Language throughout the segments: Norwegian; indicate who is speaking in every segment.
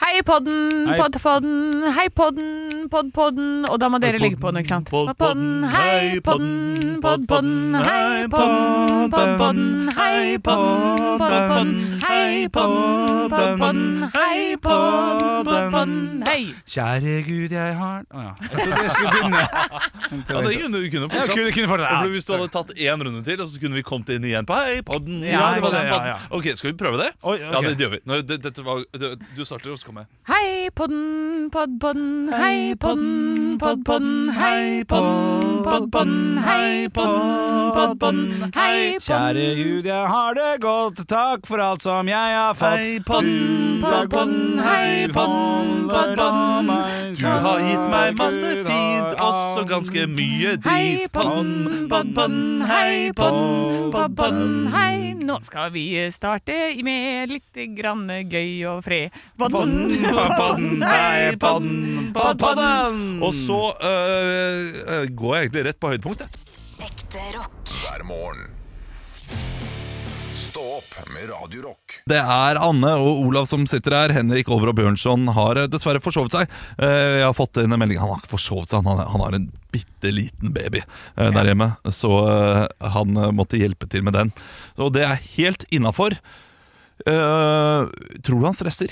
Speaker 1: Hei, podden,
Speaker 2: Hei.
Speaker 1: podpodden, hei, podden, podpodden. Og da må dere ligge på den, ikke sant? Podpodden, hei, podden, podpodden, hei, podden, podpodden, hei, podden, podpodden, hei, podden, podpodden, hei, podden, podpodden, hei.
Speaker 2: Kjære Gud, jeg har Å ja. Jeg trodde jeg skulle begynne. Jeg
Speaker 3: Ja, det kunne du kunne
Speaker 2: Ja,
Speaker 3: fortsatt.
Speaker 2: kunne- kunne fortsatt.
Speaker 3: Og for Hvis du hadde tatt én runde til, og så kunne vi kommet inn igjen på Hei, podden.
Speaker 2: Ja, det var det,
Speaker 3: podden,
Speaker 2: ja,
Speaker 3: podden.
Speaker 2: ja.
Speaker 3: Ok, Skal vi prøve det?
Speaker 2: Oi, ok.
Speaker 3: Ja, det, det gjør vi. Nå, det, dette var, det, du starter, og så kommer jeg.
Speaker 1: Hei, podden, podpodden, hei, podden, podpodden, hei, podden, podpodden, hei, podden, podpodden, hei, podden.
Speaker 2: Kjære Gud, jeg har det godt, takk for alt som jeg har fått.
Speaker 3: Hei, podden,
Speaker 2: Du er
Speaker 1: podden,
Speaker 2: god,
Speaker 3: hei,
Speaker 2: du
Speaker 3: podden,
Speaker 2: holder
Speaker 3: podden.
Speaker 2: meg
Speaker 3: Du har gitt meg masse
Speaker 2: Gud har
Speaker 3: fint, også ganske mye
Speaker 1: Hei,
Speaker 3: drit.
Speaker 1: podden, podden, podden, hei, podden, podden, podden, hei. Nå skal vi starte med litt grann gøy og fred. Podden, podden, hei, podden, podden, podden.
Speaker 3: Og så øh, øh, går jeg egentlig rett på høydepunkt, jeg.
Speaker 4: hver morgen. Stå opp med Radio Rock.
Speaker 3: Det er Anne og Olav som sitter her. Henrik Over og Bjørnson har dessverre forsovet seg. Eh, Jeg har fått inn en melding. Han har ikke forsovet seg, han har, han har en bitte liten baby eh, der hjemme. Så eh, han eh, måtte hjelpe til med den. Og det er helt innafor. Eh, tror du han stresser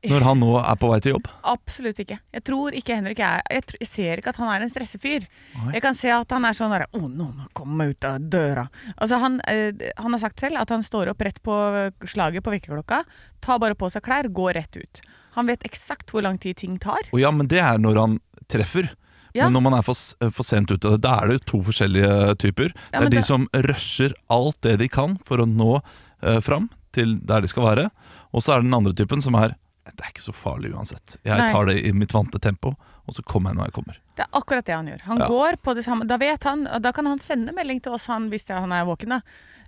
Speaker 3: når han nå er på vei til jobb?
Speaker 1: Absolutt ikke. Jeg tror ikke Henrik er Jeg, tr- jeg ser ikke at han er en stressefyr. Jeg kan se at han er sånn derre 'Å, nå må jeg komme meg ut av døra'. Altså, han, eh, han har sagt selv at han står opp rett på eh, slaget på vekkerklokka, tar bare på seg klær, går rett ut. Han vet eksakt hvor lang tid ting tar.
Speaker 3: Å ja, men det er når han treffer.
Speaker 1: Ja.
Speaker 3: Men når man er for, s- eh, for sent ute, da er det jo to forskjellige typer.
Speaker 1: Ja,
Speaker 3: det
Speaker 1: men
Speaker 3: er de
Speaker 1: da-
Speaker 3: som rusher alt det de kan for å nå eh, fram til der de skal være. Og så er det den andre typen som er Det er ikke så farlig uansett. Jeg
Speaker 1: Nei.
Speaker 3: tar det i mitt vante tempo, og så kommer jeg når jeg kommer.
Speaker 1: Det er akkurat det han gjør. Han
Speaker 3: Ja.
Speaker 1: går på det samme Da vet han, og da kan han sende melding til oss han, hvis det er han er våken. da.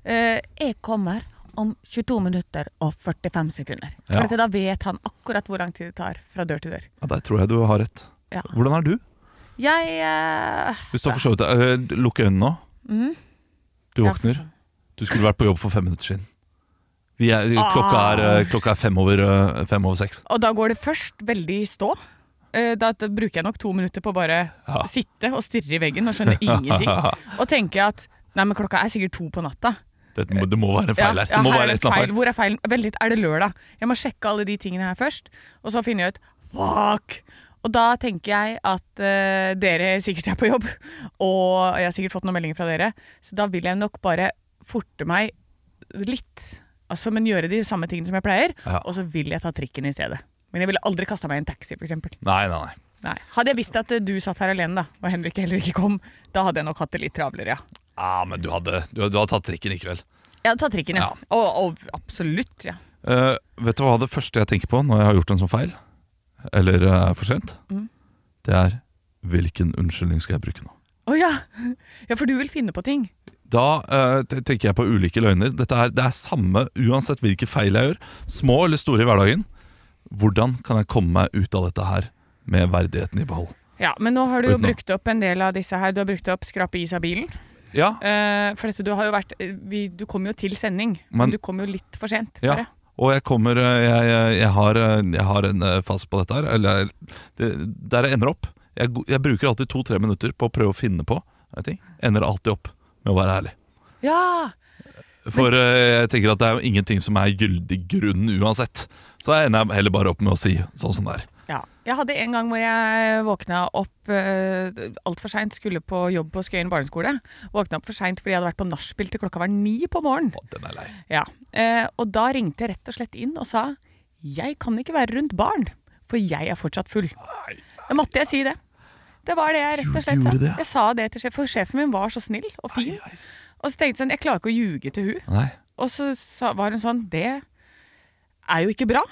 Speaker 1: Eh, 'Jeg kommer om 22 minutter og 45 sekunder'.
Speaker 3: Ja.
Speaker 1: For at Da vet han akkurat hvor lang tid det tar fra dør til dør.
Speaker 3: Ja, Der tror jeg du har rett.
Speaker 1: Ja.
Speaker 3: Hvordan er du?
Speaker 1: Jeg eh,
Speaker 3: Hvis du har forsovet deg eh, Lukk øynene nå.
Speaker 1: Mhm.
Speaker 3: Du
Speaker 1: Ja,
Speaker 3: våkner. Du skulle vært på jobb for fem minutter siden. Vi er,
Speaker 1: Ah.
Speaker 3: klokka, er, eh, klokka er fem over, eh, fem over seks.
Speaker 1: Og da går det først veldig i stå. Eh, Da t- bruker jeg nok to minutter på å bare
Speaker 3: Ja.
Speaker 1: sitte og stirre i veggen og skjønne ingenting. Og tenke at nei, men klokka er sikkert to på natta.
Speaker 3: Det må, det må være en feil her.
Speaker 1: Ja,
Speaker 3: det må
Speaker 1: her er
Speaker 3: være
Speaker 1: det
Speaker 3: et eller annet feil.
Speaker 1: Hvor er feilen? Vent litt, er det lørdag? Jeg må sjekke alle de tingene her først, og så finner jeg ut fuck! Og da tenker jeg at eh, dere sikkert er på jobb, og jeg har sikkert fått noen meldinger fra dere, så da vil jeg nok bare forte meg litt, altså, men gjøre de samme tingene som jeg pleier,
Speaker 3: Ja.
Speaker 1: og så vil jeg ta trikken i stedet. Men jeg ville aldri kasta meg i en taxi, f.eks.
Speaker 3: Nei, nei, nei.
Speaker 1: Hadde jeg visst at eh, du satt her alene, da, og Henrik heller ikke kom, da hadde jeg nok hatt det litt travlere, ja.
Speaker 3: Ah, men du hadde, du, du hadde tatt trikken likevel.
Speaker 1: Jeg hadde tatt trikken, ja.
Speaker 3: Ja.
Speaker 1: Og, og absolutt, ja.
Speaker 3: Eh, vet du hva det første jeg tenker på når jeg har gjort en sånn feil? Eller eh, for sent?
Speaker 1: Mm.
Speaker 3: Det er hvilken unnskyldning skal jeg bruke nå?
Speaker 1: Å ja. ja, for du vil finne på ting.
Speaker 3: Da eh, te- tenker jeg på ulike løgner. Dette er, det er samme uansett hvilke feil jeg gjør, små eller store i hverdagen. Hvordan kan jeg komme meg ut av dette her med verdigheten i behold?
Speaker 1: Ja, Men nå har du jo
Speaker 3: Utenom.
Speaker 1: brukt opp en del av disse her. Du har brukt opp skrape is av bilen.
Speaker 3: Ja,
Speaker 1: Eh, for dette, du har jo vært eh, vi, Du kom jo til sending, men,
Speaker 3: Men-
Speaker 1: du kom jo litt for sent.
Speaker 3: Ja,
Speaker 1: bare.
Speaker 3: og jeg kommer eh, Jeg, jeg, jeg, har, eh, jeg har en eh, fase på dette her Eller jeg- det, der jeg ender opp jeg, go- jeg bruker alltid to-tre minutter på å prøve å finne på eh, ting Ender alltid opp med å være ærlig
Speaker 1: ja!
Speaker 3: For eh, jeg tenker at det er jo ingenting som er gyldig grunn uansett Så jeg ender heller bare opp med å si sånn som det er
Speaker 1: ja. Jeg hadde en gang hvor jeg våkna opp eh, altfor seint, skulle på jobb på Skøyen barneskole. Våkna opp for seint fordi jeg hadde vært på nachspiel til klokka var ni på morgenen.
Speaker 3: Å, den er lei
Speaker 1: Ja, eh, og da ringte jeg rett og slett inn og sa Jeg kan ikke være rundt barn, for jeg er fortsatt full. Da måtte jeg si det. Det var det jeg rett og slett sa.
Speaker 3: gjorde det, ja.
Speaker 1: Jeg sa det til sjef, for sjefen min var så snill og fin. Og så tenkte jeg sånn, jeg klarer ikke å ljuge til hun.
Speaker 3: Nei,
Speaker 1: Og så sa, var hun sånn Det er jo ikke bra,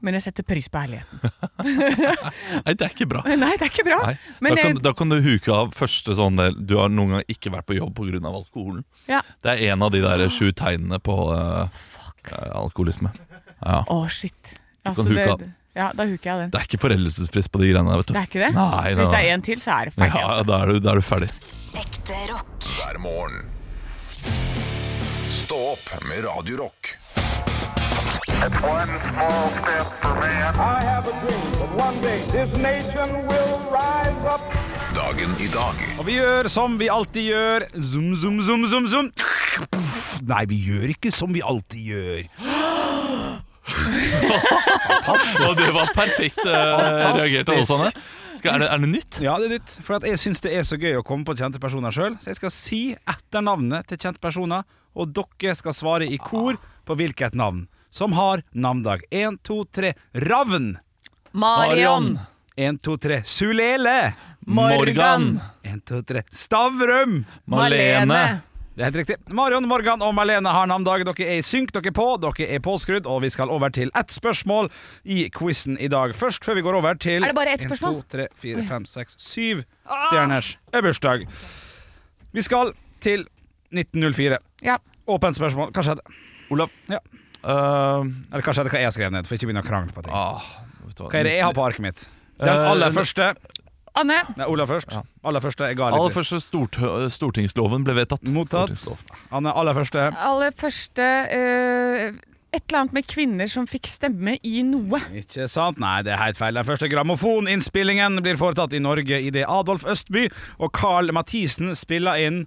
Speaker 1: men jeg setter pris på ærligheten.
Speaker 3: Nei, det er ikke bra.
Speaker 1: Nei, det er ikke bra.
Speaker 3: Nei,
Speaker 1: men
Speaker 3: da, kan,
Speaker 1: jeg,
Speaker 3: da kan du huke av første sånn del Du har noen gang ikke vært på jobb pga. alkoholen.
Speaker 1: ja.
Speaker 3: Det er en av de der sju tegnene på eh, eh, alkoholisme. Ja.
Speaker 1: Å, shit. Altså,
Speaker 3: huke av.
Speaker 1: det, ja, da huker jeg den.
Speaker 3: Det er ikke foreldelsesfrist på de greiene der, vet du.
Speaker 1: Det er ikke det?
Speaker 3: Nei,
Speaker 1: så
Speaker 3: nei,
Speaker 1: hvis det
Speaker 3: nei.
Speaker 1: er én til, så er det ferdig.
Speaker 3: Ja,
Speaker 1: altså.
Speaker 3: da er du, da er du ferdig.
Speaker 4: hver morgen. Stå opp med Radio Rock.
Speaker 5: One small step for man. I have a dream that one day this nation will rise up.
Speaker 4: Dagen i dag
Speaker 2: Og vi gjør som vi alltid gjør. Zoom, zoom, zoom, zoom, zoom. Puff. Nei, vi gjør ikke som vi alltid gjør.
Speaker 3: Og det var perfekt eh,
Speaker 2: Fantastisk.
Speaker 3: reagert av oss, Anne. Skal, er, det, er det nytt?
Speaker 2: Ja, det er nytt. For at jeg syns det er så gøy å komme på kjente personer sjøl, så jeg skal si etternavnet til kjente personer, og dere skal svare i kor på hvilket navn som har navndag. Én, to, tre Ravn!
Speaker 1: Marion.
Speaker 2: Én, to, tre Sulele!
Speaker 3: Morgan.
Speaker 2: Én, to, tre Stavrum!
Speaker 3: Malene.
Speaker 2: Det er helt riktig. Marion, Morgan og Marlene har navndag. Dere er i synk, dere er på, dere er påskrudd, og vi skal over til ett spørsmål i quizen i dag. Først, før vi går over til
Speaker 1: Er det bare ett spørsmål? Ah!
Speaker 2: 1, 2, 3, 4, 5, 6, 7 stjerners er bursdag. Vi skal til 1904.
Speaker 1: Ja.
Speaker 2: Åpent spørsmål. Hva skjedde?
Speaker 3: Olav.
Speaker 2: Ja.
Speaker 3: eh,
Speaker 2: Eller hva skjedde, hva jeg skrev ned, for ikke begynne å krangle på ting.
Speaker 3: ah, vet du hva?
Speaker 2: Hva er det jeg har på arket mitt? Den aller
Speaker 3: Eh,
Speaker 2: første
Speaker 1: Anne.
Speaker 2: Nei, Olav først. Aller første er Gareth.
Speaker 3: Aller første stort, stortingsloven ble vedtatt.
Speaker 2: Mottatt.
Speaker 3: Stortingslov.
Speaker 2: Anne, aller første.
Speaker 1: Aller første eh, Et eller annet med kvinner som fikk stemme i noe.
Speaker 2: Ikke sant? Nei, det er helt feil. Den første grammofoninnspillingen blir foretatt i Norge idet Adolf Østby og Carl Mathisen spiller inn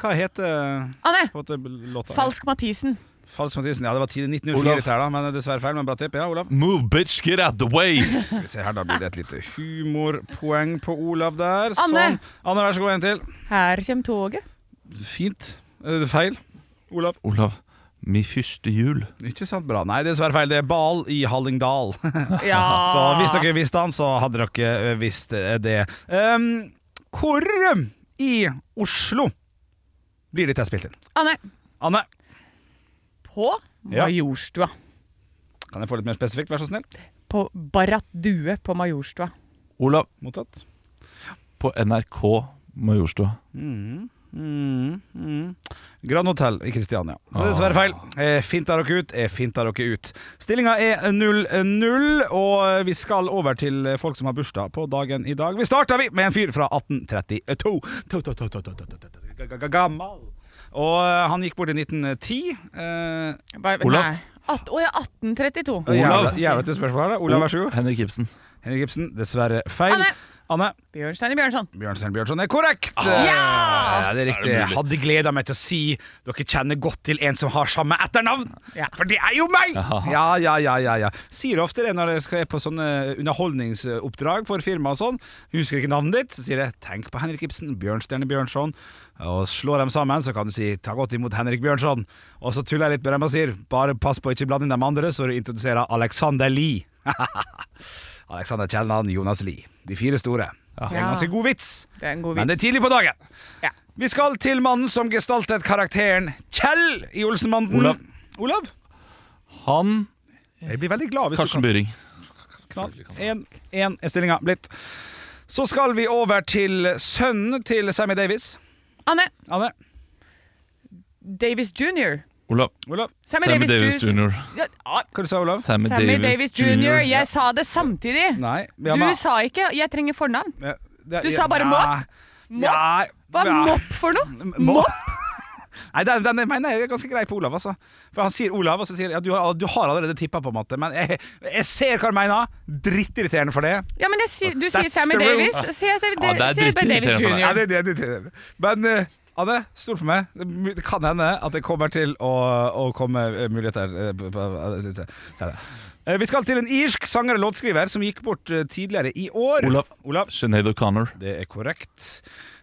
Speaker 2: Hva heter
Speaker 1: Anne!
Speaker 2: hva heter låta?
Speaker 1: Falsk Mathisen.
Speaker 2: Falsk Mathisen. Ja, det var 10 1904
Speaker 3: Olav.
Speaker 2: dette her, da, men dessverre feil. Men bra tipp. Ja, Olav.
Speaker 3: Move, bitch, get out the way!
Speaker 2: Skal vi se her, da blir det et lite humorpoeng på Olav der.
Speaker 1: Anne!
Speaker 2: Sånn. Anne, vær så god, en til.
Speaker 1: Her kommer toget.
Speaker 2: Fint. Eh, Feil. Olav.
Speaker 3: Olav, mi første jul.
Speaker 2: Ikke sant? Bra. Nei, dessverre feil. Det er Bal i Hallingdal.
Speaker 1: Ja.
Speaker 2: Så hvis dere visste han, så hadde dere ø, visst ø, det. Ehm, hvor eh, i Oslo blir dette spilt inn?
Speaker 1: Anne.
Speaker 2: Anne,
Speaker 1: På
Speaker 2: Ja.
Speaker 1: Majorstua.
Speaker 2: kan jeg få litt mer spesifikt, vær så snill?
Speaker 1: På Barrat Due på Majorstua.
Speaker 3: Olav,
Speaker 2: Mottatt.
Speaker 3: på NRK Majorstua.
Speaker 2: Grand Hotel i Kristiania. Så dessverre feil. Jeg finta dere ut, jeg finta dere ut. Stillinga er 0-0, og eh, vi skal over til eh, folk som har bursdag på dagen i dag. Vi starter vi med en fyr fra 1832. To, to, to, to, to, to, to, to, to. Ga- ga- ga- Gammal. Og ø, han gikk bort i 1910. Eh,
Speaker 1: Bare,
Speaker 3: Olav.
Speaker 1: nei. At, å ja, 1832.
Speaker 2: Olav. Jævla til spørsmålet. Olav, vær så god.
Speaker 3: Henrik Ibsen.
Speaker 2: Henrik Ibsen, dessverre feil.
Speaker 1: Anne.
Speaker 2: Anne
Speaker 1: Bjørnstein Bjørnson.
Speaker 2: Bjørnstjerne Bjørnson er korrekt! Eh,
Speaker 1: Ja!
Speaker 2: det er riktig. Jeg hadde gleda meg til å si dere kjenner godt til en som har samme etternavn,
Speaker 1: Ja.
Speaker 2: for det er jo meg! Ja, ja, ja, ja, ja. Sier ofte det når jeg skal på sånne underholdningsoppdrag for firma og sånn. Husker ikke navnet ditt, så sier jeg 'tenk på Henrik Ibsen, Bjørnstjerne Bjørnson'. Og slår dem sammen, så kan du si 'ta godt imot Henrik Bjørnson'. Og så tuller jeg litt med dem og sier 'bare pass på å ikke blande inn de andre', så du introduserer Alexander Lie. Alexander Kielland, Jonas Lie. De fire store. Det er en ganske god vits.
Speaker 1: Det er en god
Speaker 2: Men det
Speaker 1: vits.
Speaker 2: er tidlig på dagen.
Speaker 1: Ja.
Speaker 2: Vi skal til mannen som gestaltet karakteren Kjell i Olsenbanden.
Speaker 3: Olav.
Speaker 2: Olav?
Speaker 3: Han
Speaker 2: Jeg blir veldig glad hvis
Speaker 3: Karsten
Speaker 2: du
Speaker 3: Byring.
Speaker 2: kan knall. 1-1 er stillinga blitt. Så skal vi over til sønnen til Sammy Davies.
Speaker 1: Anne.
Speaker 2: Anne?
Speaker 1: Davis jr.
Speaker 3: Olav.
Speaker 2: Olav?
Speaker 1: Sammy,
Speaker 3: Sammy Davis
Speaker 1: Davis jr.
Speaker 3: jr.
Speaker 1: Ja, ah,
Speaker 2: Hva du sa du, Olav?
Speaker 3: Sammy,
Speaker 1: Sammy Davis jr.
Speaker 3: Ja.
Speaker 1: Jeg sa det samtidig.
Speaker 2: Nei. ja,
Speaker 1: Du
Speaker 2: men-
Speaker 1: sa ikke 'jeg trenger fornavn'.
Speaker 2: Ja, det-
Speaker 1: Du sa bare
Speaker 2: Ja.
Speaker 1: Mopp?
Speaker 2: Ja.
Speaker 1: Hva er
Speaker 2: Ja.
Speaker 1: mopp for noe?
Speaker 2: Mopp? Nei, den, den mener jeg er ganske grei på Olav, altså. For han sier Olav, og så sier jeg ja, du, har- du har allerede tippa, på en måte. Men jeg, jeg ser hva han mener. Drittirriterende for det.
Speaker 1: Ja, men jeg sier, Du sier
Speaker 2: That's
Speaker 1: Sammy
Speaker 2: the rule.
Speaker 1: Davis, og sier, sier,
Speaker 3: Ja, det er
Speaker 1: sier bare Davis
Speaker 3: drittirriterende for deg.
Speaker 2: Ja,
Speaker 1: jr.
Speaker 2: det, det, det, det. Men eh, Anne, stol på meg. Det mu- Det kan hende at det kommer til å, å komme eh, muligheter eh, på- på- eh, se det. Eh, Vi skal til en irsk sanger og låtskriver som gikk bort eh, tidligere i år.
Speaker 3: Olav.
Speaker 2: Olav.
Speaker 3: Sinead O'Connor.
Speaker 2: Det er korrekt.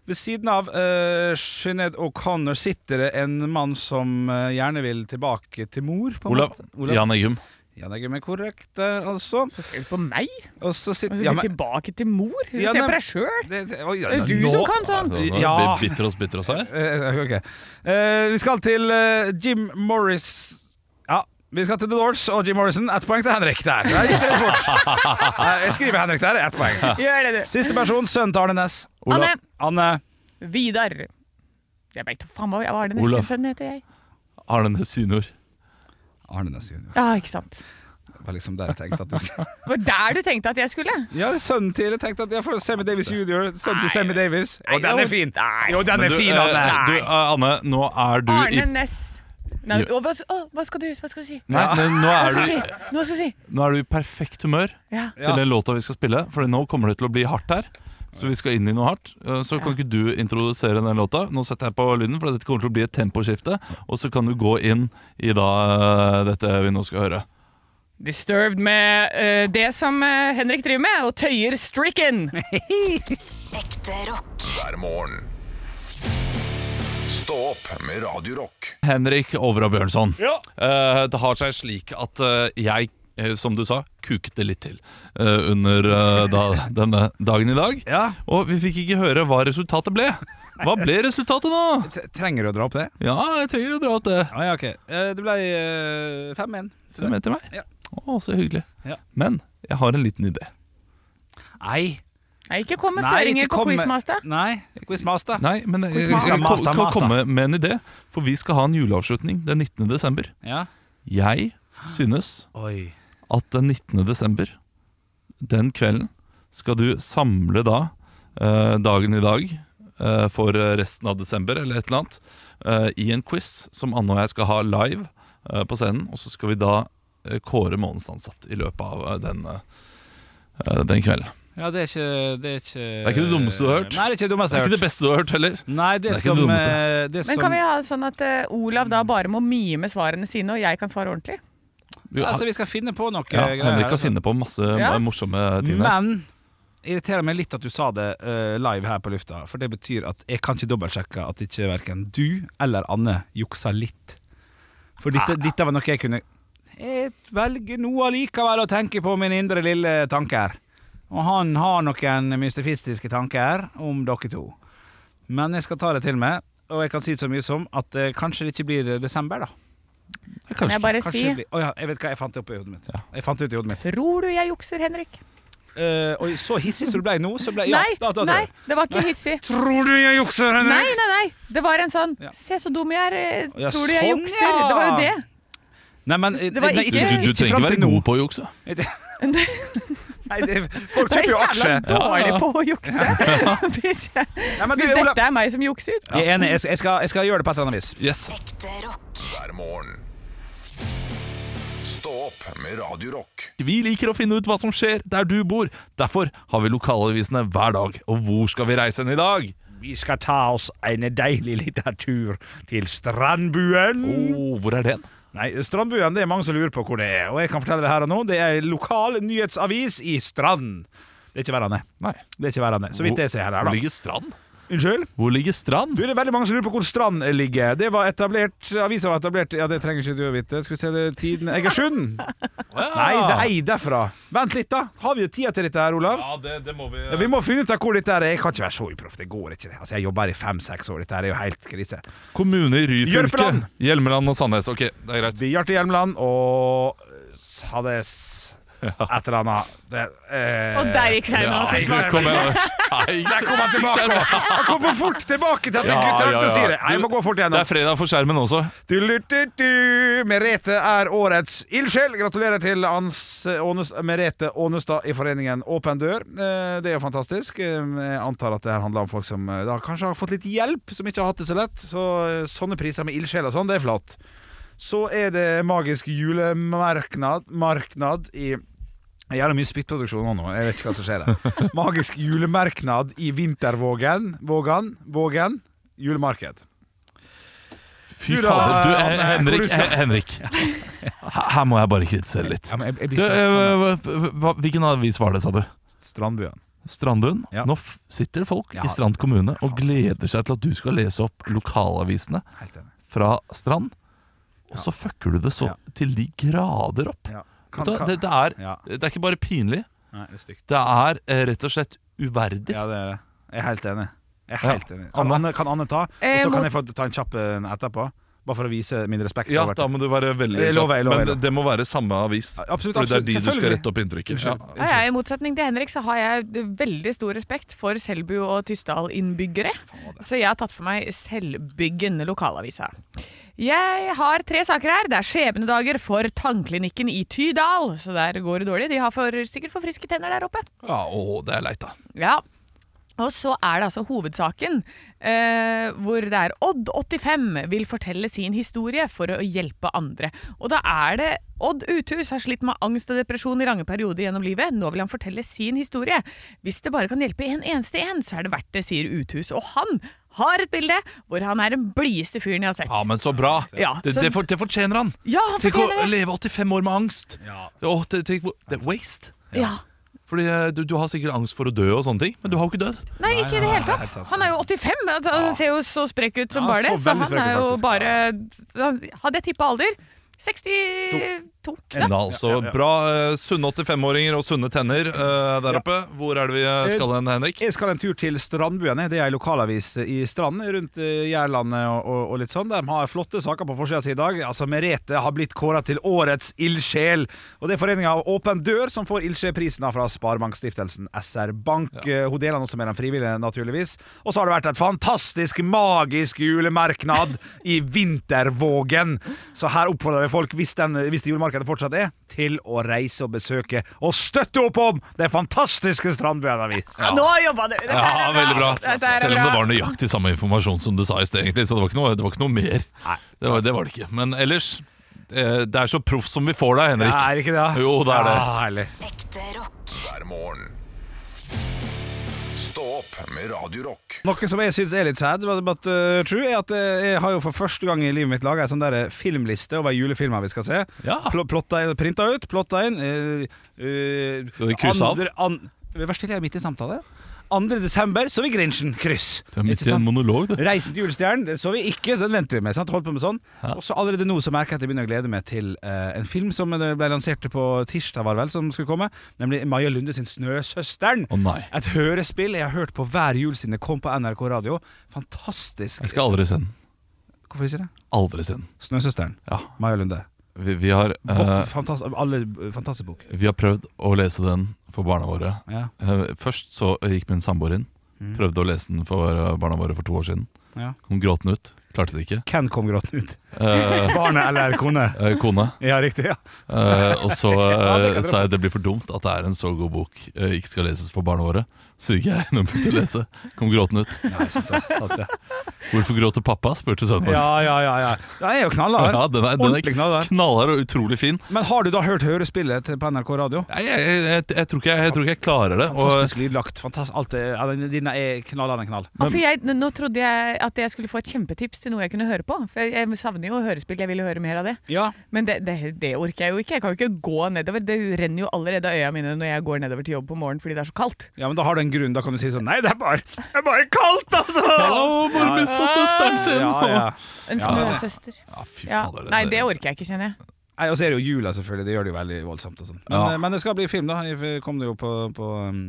Speaker 2: Ved siden av uh, Sinead O'Connor sitter det en mann som eh, gjerne vil tilbake til mor. På en
Speaker 3: Olav.
Speaker 2: måte.
Speaker 3: Jan Eggum.
Speaker 2: Jan Eggum er korrekt der, altså.
Speaker 1: Så ser du på meg?
Speaker 2: Og så
Speaker 1: Og
Speaker 2: sitter
Speaker 1: så
Speaker 2: ja,
Speaker 1: går
Speaker 2: men,
Speaker 1: tilbake til mor? Du
Speaker 2: Ja,
Speaker 1: ser
Speaker 2: nei,
Speaker 1: på deg sjøl!
Speaker 2: det, det, oi, ja,
Speaker 1: Det er du
Speaker 2: nå-
Speaker 1: som kan sånn!
Speaker 2: Ja.
Speaker 3: Ja. Bitter oss, bitter oss her.
Speaker 2: Eh, ok. Eh, vi skal til eh, Jim Morris Vi skal til The Doors og Jim Morrison. Ett poeng til Henrik der. Det gikk litt fort. Nei, Jeg skriver Henrik der. Ett poeng.
Speaker 1: Gjør det, du.
Speaker 2: Siste person, sønnen til Arne Næss.
Speaker 1: Anne.
Speaker 2: Anne.
Speaker 1: Vidar. Jeg veit da faen hva hva er det nesten
Speaker 3: Olav.
Speaker 1: sønnen heter, jeg.
Speaker 3: Arne Næss junior.
Speaker 2: Arne Næss junior.
Speaker 1: Ja, ikke sant.
Speaker 2: Det var liksom der jeg tenkte at du skulle
Speaker 1: Det var der du tenkte at jeg skulle.
Speaker 2: Ja, det er sønnen til jeg tenkte at jeg får Sammy Davis junior. Sønnen til Sammy Davis. Og den er fin! Jo, den er fin, Anne.
Speaker 3: du, eh, Anne, nå er du i
Speaker 1: Arne Næss. Nei, å, hva, å, hva, skal du, hva skal du si?
Speaker 3: Nei, men nå,
Speaker 1: Hva
Speaker 3: er
Speaker 1: skal du
Speaker 3: du,
Speaker 1: si? Nå skal du si.
Speaker 3: nå er du i perfekt humør
Speaker 1: Ja.
Speaker 2: Ja.
Speaker 3: til den låta vi skal spille, for nå kommer det til å bli hardt her. Så vi skal inn i noe hardt. Eh, Så kan ikke du introdusere den låta. Nå setter jeg på lyden, for dette kommer til å bli et temposkifte. Og så kan du gå inn i da eh, dette vi nå skal høre.
Speaker 1: Disturbed med eh, det som eh, Henrik driver med, og tøyer stricken.
Speaker 4: hver morgen. Stå opp med Radio Rock.
Speaker 3: Henrik Overå Bjørnson. Eh, det har seg slik at eh, jeg, eh, som du sa, kukte litt til eh, under eh, da, denne dagen i dag.
Speaker 2: Ja.
Speaker 3: Og vi fikk ikke høre hva resultatet ble. Hva ble resultatet nå?
Speaker 2: T- Trenger du å dra opp det?
Speaker 3: Ja, jeg trenger å dra opp det.
Speaker 2: Ja, ja, ok. Eh, Det ble eh, 5-1.
Speaker 3: Du er med til meg?
Speaker 2: Ja.
Speaker 3: Å, så hyggelig.
Speaker 2: Ja.
Speaker 3: Men jeg har en liten idé.
Speaker 2: Nei.
Speaker 1: Nei, ikke kom med
Speaker 2: Nei,
Speaker 1: føringer
Speaker 2: ikke
Speaker 1: på
Speaker 2: kom med-
Speaker 1: Quizmaster.
Speaker 2: Nei, Quizmaster.
Speaker 3: Nei, men jeg, jeg,
Speaker 2: Master,
Speaker 3: jeg,
Speaker 2: master,
Speaker 3: kan
Speaker 2: master.
Speaker 3: komme med en idé. For vi skal ha en juleavslutning den 19. desember.
Speaker 2: Ja.
Speaker 3: Jeg synes
Speaker 2: Oi.
Speaker 3: at den 19. desember, den kvelden, skal du samle da eh, dagen i dag eh, for resten av desember eller et eller annet, eh, i en quiz som Anne og jeg skal ha live eh, på scenen. Og så skal vi da eh, kåre månedens ansatt i løpet av eh, den, eh, den kvelden.
Speaker 2: Ja, det er ikke Det er ikke
Speaker 3: Det er ikke det dummeste du har hørt.
Speaker 2: Nei, det er ikke det
Speaker 3: Det
Speaker 2: dummeste
Speaker 3: er ikke
Speaker 2: jeg har
Speaker 3: det
Speaker 2: hørt.
Speaker 3: beste du har hørt heller.
Speaker 2: Nei, det,
Speaker 3: Det er ikke
Speaker 2: som,
Speaker 3: det dummeste.
Speaker 2: eh, det
Speaker 1: Men
Speaker 2: som
Speaker 1: kan vi ha sånn at eh, Olav da bare må mime svarene sine, og jeg kan svare ordentlig?
Speaker 3: Vi,
Speaker 2: Altså, vi skal finne på noe.
Speaker 3: ja,
Speaker 2: greier
Speaker 3: Henrik
Speaker 2: her,
Speaker 3: kan finne på masse
Speaker 1: Ja.
Speaker 3: morsomme ting. der.
Speaker 2: Men irriterer meg litt at du sa det eh, live her på lufta, for det betyr at jeg kan ikke dobbeltsjekke at ikke verken du eller Anne juksa litt. For dette, dette var noe jeg kunne Jeg velger nå allikevel å tenke på min indre lille tanke her. Og han har noen mystifistiske tanker om dere to. Men jeg skal ta det til meg, og jeg kan si så mye som at eh, kanskje det ikke blir desember, da.
Speaker 3: Ja, kanskje
Speaker 1: Kan jeg bare
Speaker 2: Kanskje
Speaker 1: si
Speaker 2: det blir- Å ja, jeg vet hva, jeg fant det opp i hodet mitt. Jeg fant det ut i hodet mitt.
Speaker 1: Tror du jeg jukser, Henrik?
Speaker 2: Eh, oi, så hissig som du ble nå, så ble ja,
Speaker 1: nei,
Speaker 2: da, da, da.
Speaker 1: nei, det var ikke hissig.
Speaker 2: Tror du jeg jukser,
Speaker 1: Nei, nei, nei. Det var en sånn
Speaker 2: Ja.
Speaker 1: Se så dum jeg er. eh,
Speaker 2: Ja,
Speaker 1: Tror du jeg
Speaker 2: sånn,
Speaker 1: jukser?
Speaker 2: ja.
Speaker 1: Det var jo det.
Speaker 2: Nei, men
Speaker 1: Det var
Speaker 2: nei,
Speaker 1: ikke-
Speaker 3: Du,
Speaker 2: ikke,
Speaker 3: du, du trenger ikke være god på å jukse.
Speaker 2: Nei, det, folk
Speaker 1: Jeg er
Speaker 2: kjøper jo
Speaker 1: jævla
Speaker 2: aksjer.
Speaker 1: dårlig på å jukse. Hvis, jeg,
Speaker 2: Nei, men du,
Speaker 1: hvis
Speaker 2: Ola,
Speaker 1: dette er meg som jukser.
Speaker 2: jeg er enig, jeg skal, jeg, skal, jeg skal gjøre det på et eller annet vis.
Speaker 3: Yes.
Speaker 4: hver morgen. Stå opp med Radio Rock
Speaker 3: Vi liker å finne ut hva som skjer der du bor. Derfor har vi lokalavisene hver dag. Og hvor skal vi reise hen i dag?
Speaker 2: Vi skal ta oss en deilig liten tur til Strandbuen.
Speaker 3: Oh, hvor er den?
Speaker 2: Nei, Strandbuen det er mange som lurer på hvor det er, og jeg kan fortelle det her og nå. Det er en lokal nyhetsavis i Strand. Det er ikke verre enn det.
Speaker 3: Nei.
Speaker 2: Det er ikke verre enn det. Så vidt jeg ser her,
Speaker 3: Hvor
Speaker 2: da.
Speaker 3: ligger Strand?
Speaker 2: Unnskyld?
Speaker 3: Hvor ligger Strand?
Speaker 2: Du, det er veldig mange som lurer på hvor Strand ligger. Det var etablert, Avisa var etablert Ja, det trenger ikke du å vite. Skal vi se det er tiden Egersund! Nei, det er ei derfra. Vent litt, da. Har vi jo tida til dette her, Olav?
Speaker 3: Ja, det, det må vi
Speaker 2: Ja, vi må finne ut av hvor dette er. Jeg kan ikke være så uproff. Det går ikke. det Altså, Jeg jobber her i fem-seks år. Dette her er jo helt krise.
Speaker 3: Kommune i Ryfylke.
Speaker 2: Jørpeland.
Speaker 3: Hjelmeland og Sandnes. Ok, det er greit.
Speaker 2: Bjarte Hjelmeland og Sades et eller annet. Det, eh,
Speaker 1: Og der gikk skjermen.
Speaker 3: Ja,
Speaker 1: altså,
Speaker 3: ikke
Speaker 1: svarte.
Speaker 3: sant, kom igjen. Nei, ikke
Speaker 2: Der kom han tilbake! Han kom for fort tilbake til at jeg
Speaker 3: Ja,
Speaker 2: trengte
Speaker 3: ja,
Speaker 2: å si
Speaker 3: ja.
Speaker 2: det. Jeg må
Speaker 3: Du,
Speaker 2: gå fort
Speaker 3: sant. Det
Speaker 2: igjennom.
Speaker 3: er fredag for skjermen også.
Speaker 2: Du-lu-du-du. Merete er årets ildsjel. Gratulerer til Ans eh, Ånes, Merete Ånestad i foreningen Åpen dør. Eh, Det er jo fantastisk. Eh, Jeg antar at det her handler om folk som eh, da kanskje har fått litt hjelp, som ikke har hatt det så lett. Så eh, sånne priser med ildsjel og sånn, det er flott. Så er det magisk julemarknad marknad i jeg har mye spyttproduksjon nå, nå, jeg vet ikke hva som skjer her. Magisk julemerknad i Vintervågen. Vågan. Vågen. Julemarked.
Speaker 3: Fy
Speaker 2: Du da,
Speaker 3: fader. Du, eh,
Speaker 2: Anne,
Speaker 3: Henrik,
Speaker 2: hvor du skal?
Speaker 3: eh, Henrik. Her her må jeg bare kritisere litt.
Speaker 2: Ja, men jeg, jeg
Speaker 3: Du,
Speaker 2: blir stressa.
Speaker 3: eh, hva- hva- hvilken avis var det, sa du?
Speaker 2: Strandbuen.
Speaker 3: Strandun,
Speaker 2: Ja.
Speaker 3: nå f- sitter folk
Speaker 2: Ja.
Speaker 3: i Strand kommune og
Speaker 2: Faen,
Speaker 3: gleder seg til at du skal lese opp lokalavisene
Speaker 2: Helt enig.
Speaker 3: fra Strand. Og så fucker du det så
Speaker 2: Ja.
Speaker 3: til de grader opp.
Speaker 2: Ja.
Speaker 3: Vet du hva, det, det, er,
Speaker 2: Ja.
Speaker 3: det er ikke bare pinlig,
Speaker 2: Nei, det er stygt.
Speaker 3: det er eh, rett og slett uverdig.
Speaker 2: Ja, det er det. Jeg er helt enig. Jeg er
Speaker 3: Ja.
Speaker 2: helt enig. Kan Anne, kan Anne ta, og
Speaker 1: Eh,
Speaker 2: så
Speaker 1: mot-
Speaker 2: kan jeg få ta en kjapp en etterpå? Bare for å vise min respekt.
Speaker 3: Ja,
Speaker 2: over-
Speaker 3: da må du være veldig
Speaker 2: Jeg lover, jeg lover,
Speaker 3: Men
Speaker 2: jeg lover.
Speaker 3: det må være samme avis.
Speaker 2: Absolutt,
Speaker 3: Fordi
Speaker 2: absolutt,
Speaker 3: det er de du skal
Speaker 2: selvfølgelig.
Speaker 3: rette opp inntrykket. Ja.
Speaker 2: Unnskyld.
Speaker 1: Ja, jeg, I motsetning til Henrik så har jeg veldig stor respekt for Selbu- og Tysdal-innbyggere. Så jeg har tatt for meg Selvbyggen, lokalavisa. Jeg har tre saker her. Det er skjebnedager for tannklinikken i Tydal. Så der går det dårlig. De har for, sikkert for friske tenner der oppe.
Speaker 3: Ja, å, det er leit, da.
Speaker 1: Ja. Og så er det altså hovedsaken, eh, hvor det er Odd85 vil fortelle sin historie for å hjelpe andre. Og da er det Odd Uthus har slitt med angst og depresjon i lange perioder gjennom livet. Nå vil han fortelle sin historie. Hvis det bare kan hjelpe en eneste en, så er det verdt det, sier Uthus. Og han har et bilde hvor han er den blideste fyren jeg har sett.
Speaker 3: Ja, men så bra!
Speaker 1: Ja,
Speaker 3: det,
Speaker 1: så-
Speaker 3: det, for, det fortjener han!
Speaker 1: Ja, han
Speaker 3: Tenk å
Speaker 1: fortjener det!
Speaker 3: leve 85 år med angst! Å, det, tenk hvor- det er waste!
Speaker 1: Ja.
Speaker 3: Fordi eh, du, du har sikkert angst for å dø, og sånne ting men du har jo ikke dødd.
Speaker 1: Nei, ikke i det hele tatt. Han er jo 85, men altså, han ser jo så sprek ut som
Speaker 2: Ja,
Speaker 1: bare det.
Speaker 2: så
Speaker 1: Så
Speaker 2: veldig
Speaker 1: han
Speaker 2: sprek ut,
Speaker 1: er jo
Speaker 2: faktisk.
Speaker 1: bare han- Hadde jeg tippa alder 62
Speaker 3: Enda altså. Bra. eh, sunne 85-åringer og sunne tenner eh, der oppe. Hvor er det vi eh, skal hen, Henrik?
Speaker 2: Jeg skal en tur til Strandbuen. jeg. Det er en lokalavis i Strand rundt eh, Jærlandet og, og, og litt sånn. De har flotte saker på forsida si i dag. Altså, Merete har blitt kåra til årets ildsjel. Og det er foreninga Åpen dør som får ildsjelprisen da fra Sparebankstiftelsen SR Bank. Eh, Hun deler den også med den frivillige, naturligvis. Og så har det vært et fantastisk, magisk julemarknad i Vintervågen. Så her oppfordrer vi folk, hvis, den, hvis det julemarkedet fortsatt er, til å reise og besøke og støtte opp om det fantastiske Strandbuen avis.
Speaker 1: Ja. Nå jobba du! Dette
Speaker 3: Ja,
Speaker 1: er
Speaker 3: veldig bra.
Speaker 1: Dette er
Speaker 3: Selv om det
Speaker 1: bra.
Speaker 3: var nøyaktig samme informasjon som du sa i sted, egentlig. Så det var ikke noe, det var ikke noe mer. Det var, det var det ikke. Men ellers eh, Det er så proff som vi får deg,
Speaker 2: Det
Speaker 3: Henrik.
Speaker 2: er ikke det? da?
Speaker 3: Jo, det er det.
Speaker 2: Ja, Ah, herlig.
Speaker 4: hver morgen. Stå opp med Radio Rock.
Speaker 2: Noe som jeg syns er litt sad, but, but uh, true, er at eh, jeg har jo for første gang i livet mitt laga ei sånn der eh, filmliste over julefilmer vi skal se.
Speaker 3: Ja.
Speaker 2: Pl plotta inn, printa ut, plotta inn. eh, eh,
Speaker 3: Skal du krysse av?
Speaker 2: andre- an- Vær stille, jeg er midt i samtale. 2. desember så vi Grinchen. Kryss.
Speaker 3: Du er midt i
Speaker 2: Ikke
Speaker 3: en
Speaker 2: sant?
Speaker 3: monolog, du.
Speaker 2: Reisen til julestjernen det så vi ikke, så den venter vi med. Sant? Holdt på med sånn
Speaker 3: Ja.
Speaker 2: Og så allerede nå så merker jeg at jeg begynner å glede meg til eh, en film som eh, ble lansert på tirsdag, var det vel, som skulle komme. Nemlig Maja Lunde sin 'Snøsøsteren'.
Speaker 3: Å nei.
Speaker 2: Et hørespill jeg har hørt på hver jul siden det kom på NRK Radio. Fantastisk.
Speaker 3: Jeg skal aldri se den.
Speaker 2: Hvorfor ikke det?
Speaker 3: Aldri se den.
Speaker 2: Snøsøsteren.
Speaker 3: Ja.
Speaker 2: Maja Lunde.
Speaker 3: Vi, vi, har, eh,
Speaker 2: Godt, fantas alle, eh, fantastisk bok.
Speaker 3: vi har prøvd å lese den for barna våre.
Speaker 2: Ja.
Speaker 3: Eh, først så gikk min samboer inn. Prøvde å lese den for eh, barna våre for to år siden.
Speaker 2: Mm. Ja.
Speaker 3: Kom gråtende ut. Klarte det ikke.
Speaker 2: Ken kom gråtende ut.
Speaker 3: Eh,
Speaker 2: Barnet eller kone?
Speaker 3: eh, kone.
Speaker 2: Ja, riktig. ja
Speaker 3: Eh, og så
Speaker 2: Ja, det
Speaker 3: eh,
Speaker 2: kan dere
Speaker 3: sa jeg det blir for dumt at det er en så god bok eh, ikke skal leses for barna våre. Så gikk jeg inn og begynte å lese. Kom gråtende ut. Hvorfor gråter pappa? spurte sønnen vår.
Speaker 2: Ja, ja, ja. ja. Den er jo knallhard.
Speaker 3: Ja, den er, den
Speaker 2: Ordentlig
Speaker 3: er
Speaker 2: knallhard.
Speaker 3: knallhard og utrolig fin.
Speaker 2: Men har du da hørt hørespillet til- på NRK Radio?
Speaker 3: Nei, jeg, jeg, jeg, jeg, tror ikke jeg, jeg tror ikke jeg klarer det. Og,
Speaker 2: Fantastisk lydlagt. Fantastisk, alt er, ja, den- dine er knall av en knall.
Speaker 1: Ja, for jeg, nå trodde jeg at jeg skulle få et kjempetips til noe jeg kunne høre på. For jeg, jeg savner jo hørespill, jeg ville høre mer av det.
Speaker 2: Ja.
Speaker 1: Men det, det, det orker jeg jo ikke. Jeg kan jo ikke gå nedover. Det renner jo allerede av øya mine når jeg går nedover til jobb på morgenen fordi det er så kaldt.
Speaker 2: ja, men da har du en grunn. Da kan du si sånn Nei, det er bare, det er bare kaldt, altså!
Speaker 3: Hallo, mor mista søsteren sin!
Speaker 2: Ja, ja.
Speaker 1: En snøsøster.
Speaker 3: Ja, fy
Speaker 1: Ja.
Speaker 3: fader,
Speaker 1: Nei, det orker jeg ikke, kjenner jeg.
Speaker 2: Nei, Og så er det jo jula, selvfølgelig. Det gjør det jo veldig voldsomt. og sånn men,
Speaker 3: Ja.
Speaker 2: eh, men det skal bli film, da. Jeg kom det jo på, på um,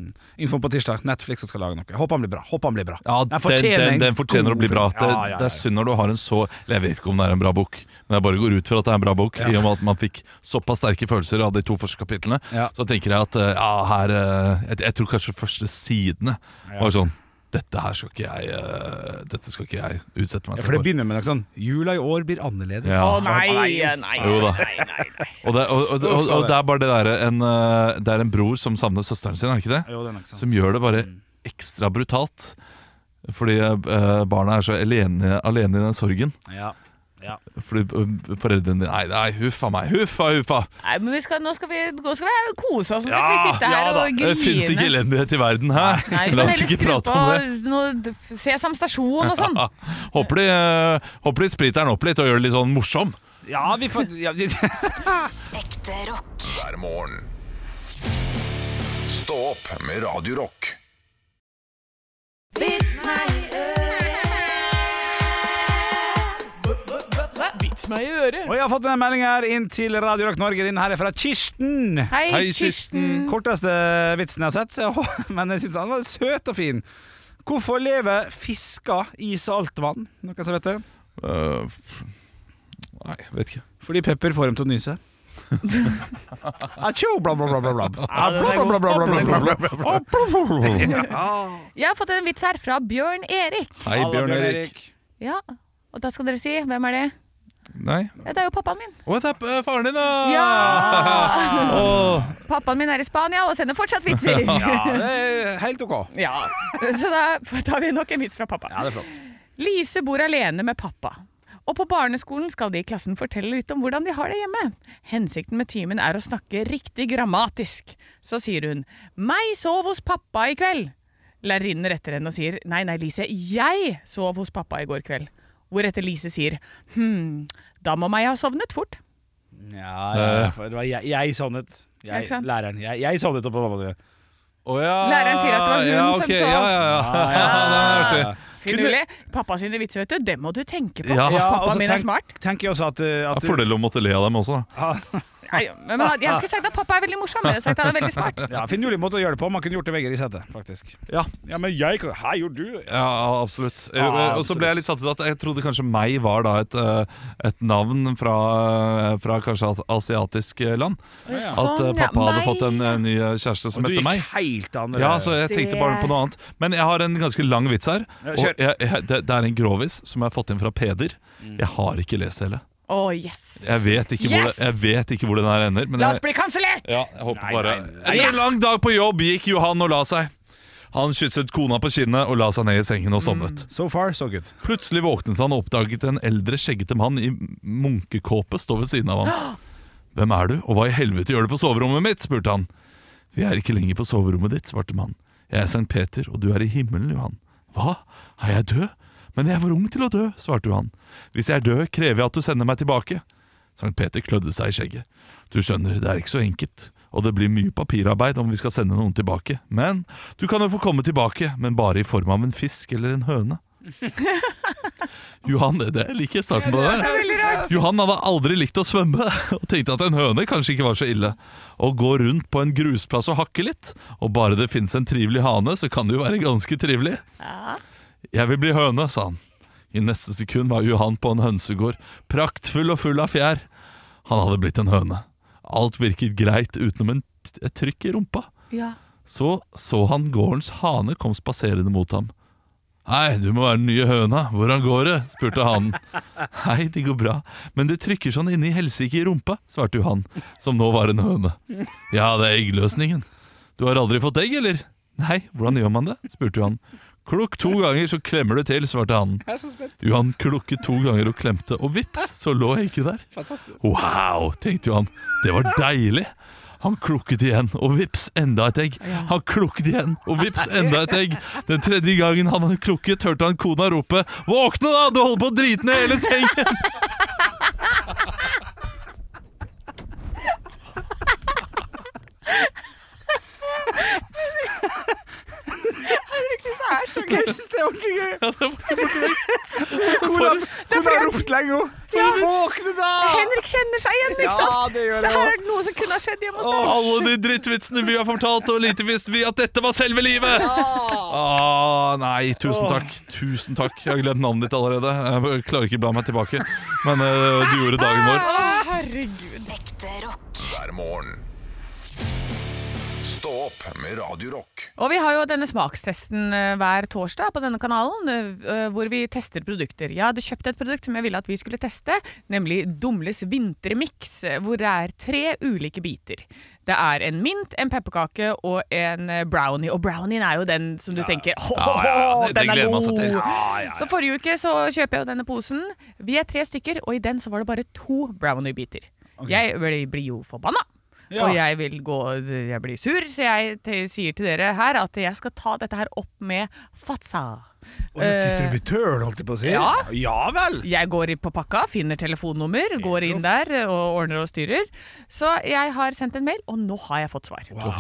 Speaker 2: infoen på tirsdag. Netflix som skal lage noe. Jeg Håper han blir bra. Håper han blir bra.
Speaker 3: Ja, den, den,
Speaker 2: en
Speaker 3: den fortjener å
Speaker 2: god
Speaker 3: bli bra.
Speaker 2: film.
Speaker 3: Det,
Speaker 2: Ja, ja,
Speaker 3: det er synd når du har en så Eller jeg vet ikke om det er en bra bok, men jeg bare går ut fra at det er en bra bok, i og med at man fikk såpass sterke følelser av de to første kapitlene.
Speaker 2: Ja.
Speaker 3: Så tenker jeg at eh, ja, her eh, jeg, jeg tror kanskje første sidene var sånn Dette her skal ikke jeg eh, Dette skal ikke jeg utsette meg
Speaker 2: Ja, for det begynner med noe sånn Jula i år blir annerledes.
Speaker 3: Ja.
Speaker 1: Å nei, nei,
Speaker 3: Jo da.
Speaker 1: nei, nei, nei.
Speaker 3: Og det, og, og, og, og det er bare det derre en, eh, Det er en bror som savner søsteren sin, er det ikke det?
Speaker 2: Jo, det er nok sånn. sant.
Speaker 3: Som gjør det bare ekstra brutalt. Fordi eh, barna er så alene, alene i den sorgen.
Speaker 2: Ja. Ja.
Speaker 3: Fordi eh, foreldrene dine Nei, nei, huffa meg. Huffa, huffa.
Speaker 1: Nei, men vi skal, nå skal vi, nå skal vi kose oss, nå skal vi sitte her og grine.
Speaker 3: Det fins ikke elendighet i verden, hæ?
Speaker 1: Nei, vi
Speaker 3: La oss
Speaker 1: kan heller
Speaker 3: ikke
Speaker 1: skru
Speaker 3: prate
Speaker 1: på
Speaker 3: om det.
Speaker 1: noe d- Sesam stasjon og sånn.
Speaker 3: Ja, håper, de, eh, håper de spriter den opp litt og gjør det litt sånn morsom.
Speaker 2: ja, vi får ja, vi-
Speaker 4: hver morgen. Stå opp med Radio Rock.
Speaker 1: Vits meg i øret.
Speaker 2: Og jeg har fått en melding her inn til Radio Rock Norge. Din her er fra Kirsten.
Speaker 1: Hei,
Speaker 3: Hei,
Speaker 1: Kirsten.
Speaker 3: Kirsten.
Speaker 2: Korteste vitsen jeg har sett, så jeg, hå- men jeg syns han var søt og fin. Hvorfor lever fisker i saltvann? Noen som vet det?
Speaker 3: Eh, Nei, vet ikke.
Speaker 2: Fordi pepper får dem til å nyse. Atsjo! Bla, bla, bla, bla, bla. Ah, bla, bla, bla, bla, bla, bla, bla, bla, bla.
Speaker 1: Jeg har fått en vits her fra Bjørn Erik.
Speaker 3: Hei, Bjørn Erik.
Speaker 1: Ja, og da skal dere si hvem er det?
Speaker 3: Nei.
Speaker 1: Ja, det er jo pappaen min.
Speaker 3: What up, eh, faren din, da?
Speaker 1: Ja!
Speaker 3: Åh,
Speaker 1: Pappaen min er i Spania og sender fortsatt vitser.
Speaker 2: Ja, det er helt ok.
Speaker 1: Ja, Så da tar vi nok en vits fra pappa.
Speaker 2: Ja, det er flott.
Speaker 1: Lise bor alene med pappa. Og på barneskolen skal de i klassen fortelle litt om hvordan de har det hjemme. Hensikten med timen er å snakke riktig grammatisk. Så sier hun 'meg sov hos pappa i kveld'. Lærerinnen retter henne og sier 'nei, nei, Lise, jeg sov hos pappa i går kveld'. Hvoretter Lise sier 'hm, da må meg ha sovnet fort'.
Speaker 2: Ja, ja, for det var jeg, jeg sovnet. Jeg,
Speaker 1: Ikke sant?
Speaker 2: læreren. Jeg, jeg sovnet oppå pappa. din.
Speaker 3: Å ja.
Speaker 1: Læreren sier at det var hun
Speaker 3: ja,
Speaker 1: som
Speaker 3: ok,
Speaker 1: sa.
Speaker 3: Ja, ja, ja.
Speaker 2: Ja, ja, ja.
Speaker 1: Finurlig. Pappa sine vitser, vet du, det må du tenke på.
Speaker 3: Ja.
Speaker 2: Ja, og
Speaker 1: pappa
Speaker 2: så
Speaker 1: min er
Speaker 2: tenk-
Speaker 1: smart.
Speaker 2: Tenker jeg også at, uh,
Speaker 3: Ja,
Speaker 2: at
Speaker 3: Fordel å måtte le av dem også.
Speaker 1: Nei, men jeg har ikke sagt at pappa er veldig morsom, men jeg har sagt at han er veldig smart.
Speaker 2: ja, Finurlig måte å gjøre det på. Man kunne gjort det begge i setet, faktisk.
Speaker 3: Ja,
Speaker 2: Ja, men jeg kan- Hei, gjorde du?
Speaker 3: ja absolutt. Eh,
Speaker 2: Ja,
Speaker 3: Og så ble jeg litt satt ut at jeg trodde kanskje meg var da et, eh, et navn fra, eh, fra kanskje as- asiatisk eh, land. At eh,
Speaker 1: Sånn, ja.
Speaker 3: pappa hadde
Speaker 1: Meg.
Speaker 3: fått en eh, ny eh, kjæreste som
Speaker 2: Du
Speaker 3: hette
Speaker 2: gikk
Speaker 3: meg.
Speaker 2: helt an.
Speaker 3: Ja, så jeg
Speaker 1: Det-
Speaker 3: tenkte bare på noe annet. Men jeg har en ganske lang vits her.
Speaker 2: Ja,
Speaker 3: Og
Speaker 2: kjør.
Speaker 3: jeg, jeg, det, det er en grovis som jeg har fått inn fra Peder.
Speaker 2: Mm.
Speaker 3: Jeg har ikke lest hele.
Speaker 1: Å, yes.
Speaker 3: Jeg vet ikke hvor,
Speaker 1: Yes!
Speaker 3: det, jeg vet ikke hvor den her ender. Men
Speaker 1: La oss
Speaker 3: jeg,
Speaker 1: bli kansellert!
Speaker 3: ja, jeg håper
Speaker 2: Nei,
Speaker 3: bare
Speaker 2: nei,
Speaker 3: Etter en lang dag på jobb gikk Johan og la seg. Han kysset kona på kinnet og la seg ned i sengen og sovnet.
Speaker 2: So far, so good.
Speaker 3: Plutselig våknet han og oppdaget en eldre, skjeggete mann i munkekåpe stå ved siden av han. Hvem er du, og hva i helvete gjør du på soverommet mitt? spurte han. Vi er ikke lenger på soverommet ditt, svarte mannen. Jeg er Sankt Peter, og du er i himmelen, Johan. Hva, er jeg død? Men jeg er for ung til å dø, svarte Johan. Hvis jeg er død, krever jeg at du sender meg tilbake. Sankt Peter klødde seg i skjegget. Du skjønner, det er ikke så enkelt, og det blir mye papirarbeid om vi skal sende noen tilbake. Men du kan jo få komme tilbake, men bare i form av en fisk eller en høne. Johan, det det- jeg liker starten på det der. Johan hadde aldri likt å svømme, og tenkte at en høne kanskje ikke var så ille. Å gå rundt på en grusplass og hakke litt, og bare det finnes en trivelig hane, så kan det jo være ganske trivelig. Jeg vil bli høne, sa han. I neste sekund var Johan på en hønsegård, praktfull og full av fjær. Han hadde blitt en høne. Alt virket greit utenom en t- et trykk i rumpa.
Speaker 1: Ja.
Speaker 3: Så så han gårdens hane kom spaserende mot ham. Hei, du må være den nye høna. Hvordan går det? spurte hanen. Hei, det går bra, men det trykker sånn inni helsike i rumpa, svarte Johan, som nå var en høne. Ja, det er eggløsningen. Du har aldri fått egg, eller? Nei, hvordan gjør man det? spurte Johan. Klukk to ganger, så klemmer du til, svarte hanen. Johan klukket to ganger og klemte, og vips, så lå egget der. Wow, tenkte Johan. Det var deilig. Han klukket igjen, og vips, enda et egg. Han klukket igjen, og vips, enda et egg. Den tredje gangen han hadde klukket, hørte han kona rope 'Våkne, da! Du holder på å drite ned hele sengen!'
Speaker 2: Jeg syns det er ordentlig gøy.
Speaker 3: Ja, det var
Speaker 2: Hvordan har ropt lenge nå? Våkne, da!
Speaker 1: Henrik kjenner seg igjen, ikke sant?
Speaker 2: det gjør
Speaker 1: Det her er noe som kunne ha skjedd hjemme hos deg.
Speaker 3: Alle de drittvitsene vi har fortalt, og lite visste vi at dette var selve livet! Ah, nei, tusen takk. Tusen takk. Jeg har glemt navnet ditt allerede. Jeg klarer ikke bla meg tilbake. Men eh, du gjorde dagen vår.
Speaker 1: Å, herregud.
Speaker 4: hver morgen. Stå opp med Radio Rock.
Speaker 1: Og vi har jo denne smakstesten eh, hver torsdag på denne kanalen, eh, eh, hvor vi tester produkter. Jeg hadde kjøpt et produkt som jeg ville at vi skulle teste, nemlig Dumles vintermiks, eh, hvor det er tre ulike biter. Det er en mint, en pepperkake og en eh, brownie. Og brownien er jo den som du tenker Å,
Speaker 3: ja, det- det
Speaker 1: den er
Speaker 3: gleder man seg
Speaker 1: god!
Speaker 3: til.
Speaker 1: Så forrige uke så kjøper jeg jo denne posen. Vi er tre stykker, og i den så var det bare to brownie-biter. Jeg blir- blir jo forbanna.
Speaker 2: Ja.
Speaker 1: Og jeg vil gå Jeg blir sur, så jeg te- sier til dere her at jeg skal ta dette her opp med Fatsa.
Speaker 2: Distributøren, holdt jeg på å si.
Speaker 1: Eh. Ja.
Speaker 2: ja vel.
Speaker 1: Jeg går i- på pakka, finner telefonnummer, går inn der eh, og ordner og styrer. Så jeg har sendt en mail, og nå har jeg fått svar. Jeg har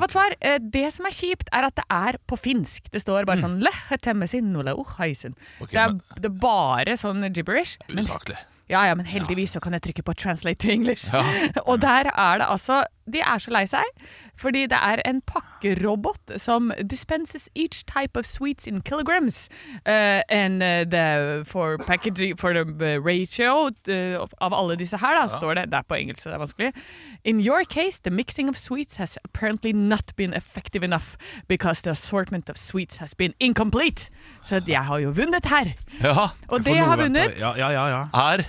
Speaker 1: fått svar. Eh, Det som er kjipt, er at det er på finsk. Det står bare sånn «Lehetemmesin nolau haisen».
Speaker 3: Ok,
Speaker 1: uh, Det er
Speaker 3: men-
Speaker 1: det er bare sånn gibberish. Men
Speaker 3: Usaklig.
Speaker 1: Ja, ja, men heldigvis så kan jeg trykke på translate to English. og der er det altså De er så lei seg. Fordi det er en pakkerobot som dispenses each type of sweets in kilograms. eh, and eh, the for packaging for the eh, ratio eh, av alle disse her, da, står det. Det er på engelsk, så det er vanskelig. In your case, the mixing of sweets has apparently not been effective enough because the assortment of sweets has been incomplete. Så jeg har jo vunnet her.
Speaker 3: Ja,
Speaker 1: Og det jeg har vunnet
Speaker 2: Ja, ja, ja, ja.
Speaker 3: er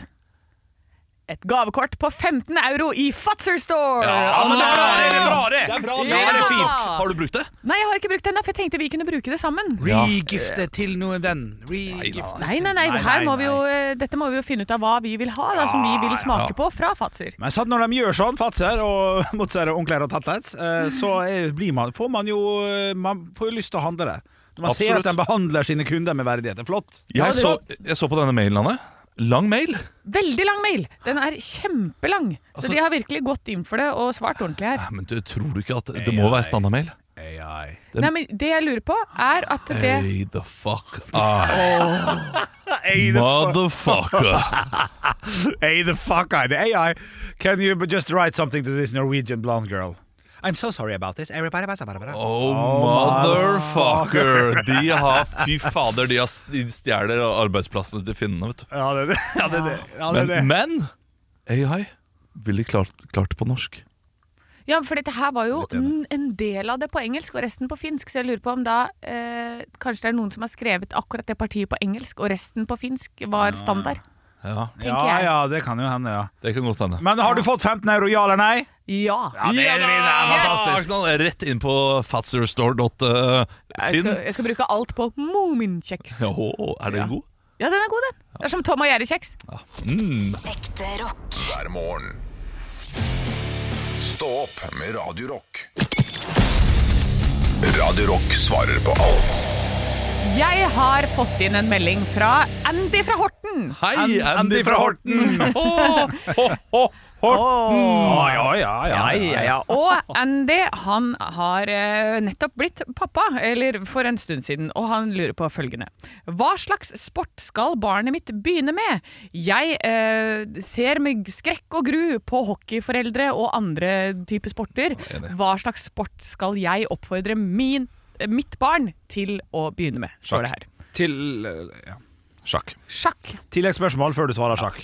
Speaker 1: et gavekort på 15 euro i Fatser Store!
Speaker 2: men det er bra, det er bra, det!
Speaker 1: Ja, det er fint.
Speaker 3: Har du brukt det?
Speaker 1: Nei, jeg har ikke brukt den, da, for jeg tenkte vi kunne bruke det sammen.
Speaker 3: Ja.
Speaker 2: Regifte til noen den. Regifte.
Speaker 1: Nei, nei, nei,
Speaker 2: Nei,
Speaker 1: her
Speaker 2: nei,
Speaker 1: må vi jo, eh, dette må vi jo finne ut av hva vi vil ha, da, som vi vil smake på fra Fatser.
Speaker 2: Men sant når de gjør sånn, fatser og motser og onkler og tattets, eh, så er, blir man, får man jo eh, Man får jo lyst til å handle der. Når man ser
Speaker 3: Absolutt.
Speaker 2: at de behandler sine kunder med verdighet. Det er flott.
Speaker 3: Jeg så, jeg så på denne mailen, Anne. Lang mail.
Speaker 1: Veldig lang mail! Den er kjempelang. Så
Speaker 3: Altså-
Speaker 1: de har virkelig gått inn for det og svart ordentlig her.
Speaker 3: Nei, Men du, tror du ikke at det må være standardmail?
Speaker 2: AI.
Speaker 3: den-
Speaker 1: Nei, men Det jeg lurer på, er at det
Speaker 3: Hey the fuck Ah. I Motherfucker
Speaker 2: Hey, the fuck I, the AI. Can you just write something to this Norwegian blonde girl? I'm so sorry about this. Everybody
Speaker 3: Oh motherfucker De har, fy fader De, har, de stjeler arbeidsplassene til finnene vet du.
Speaker 2: Ja, det er det. Ja, det, er det. Ja, det, er det.
Speaker 3: men, men AI Ville klart, klart på norsk
Speaker 1: Ja, for dette her var jo n- en del av det på engelsk og resten på finsk, så jeg lurer på om da eh, kanskje det er noen som har skrevet akkurat det partiet på engelsk, og resten på finsk var standard,
Speaker 3: Ja,
Speaker 1: tenker
Speaker 2: ja,
Speaker 1: jeg.
Speaker 2: ja, det kan jo hende, ja.
Speaker 3: det kan godt hende
Speaker 2: Men har du fått 15 euro, ja eller nei?
Speaker 1: Ja.
Speaker 2: Ja, det er, det er fantastisk.
Speaker 3: Arsenal, Rett inn på
Speaker 1: Jeg
Speaker 3: fatserstore.finn
Speaker 1: skal, jeg skal bruke alt på Moomin-kjeks.
Speaker 3: Åh, er den god?
Speaker 1: Ja, den er god, den. Det er som Tom og Jerry-kjeks.
Speaker 3: Mm.
Speaker 6: Ekte rock.
Speaker 4: hver morgen. Stå opp med Radio Rock. Radio Rock svarer på alt
Speaker 1: Jeg har fått inn en melding fra Andy fra Horten.
Speaker 3: Hei,
Speaker 2: Andy
Speaker 3: Andy, fra
Speaker 2: fra
Speaker 3: Horten Åh, ho, ho, Horten
Speaker 2: Å, ja, ja, ja.
Speaker 1: Ja, ja, ja. Og Andy han har eh, nettopp blitt pappa, eller for en stund siden, og han lurer på følgende. Hva slags sport skal barnet mitt begynne med? Jeg eh, ser med skrekk og gru på hockeyforeldre og andre typer sporter.
Speaker 3: enig.
Speaker 1: Hva slags sport skal jeg oppfordre min, eh, mitt barn til å begynne med? Står det her.
Speaker 2: Til, ja.
Speaker 3: Sjakk
Speaker 1: Sjakk.
Speaker 2: Tilleggsspørsmål før du svarer sjakk.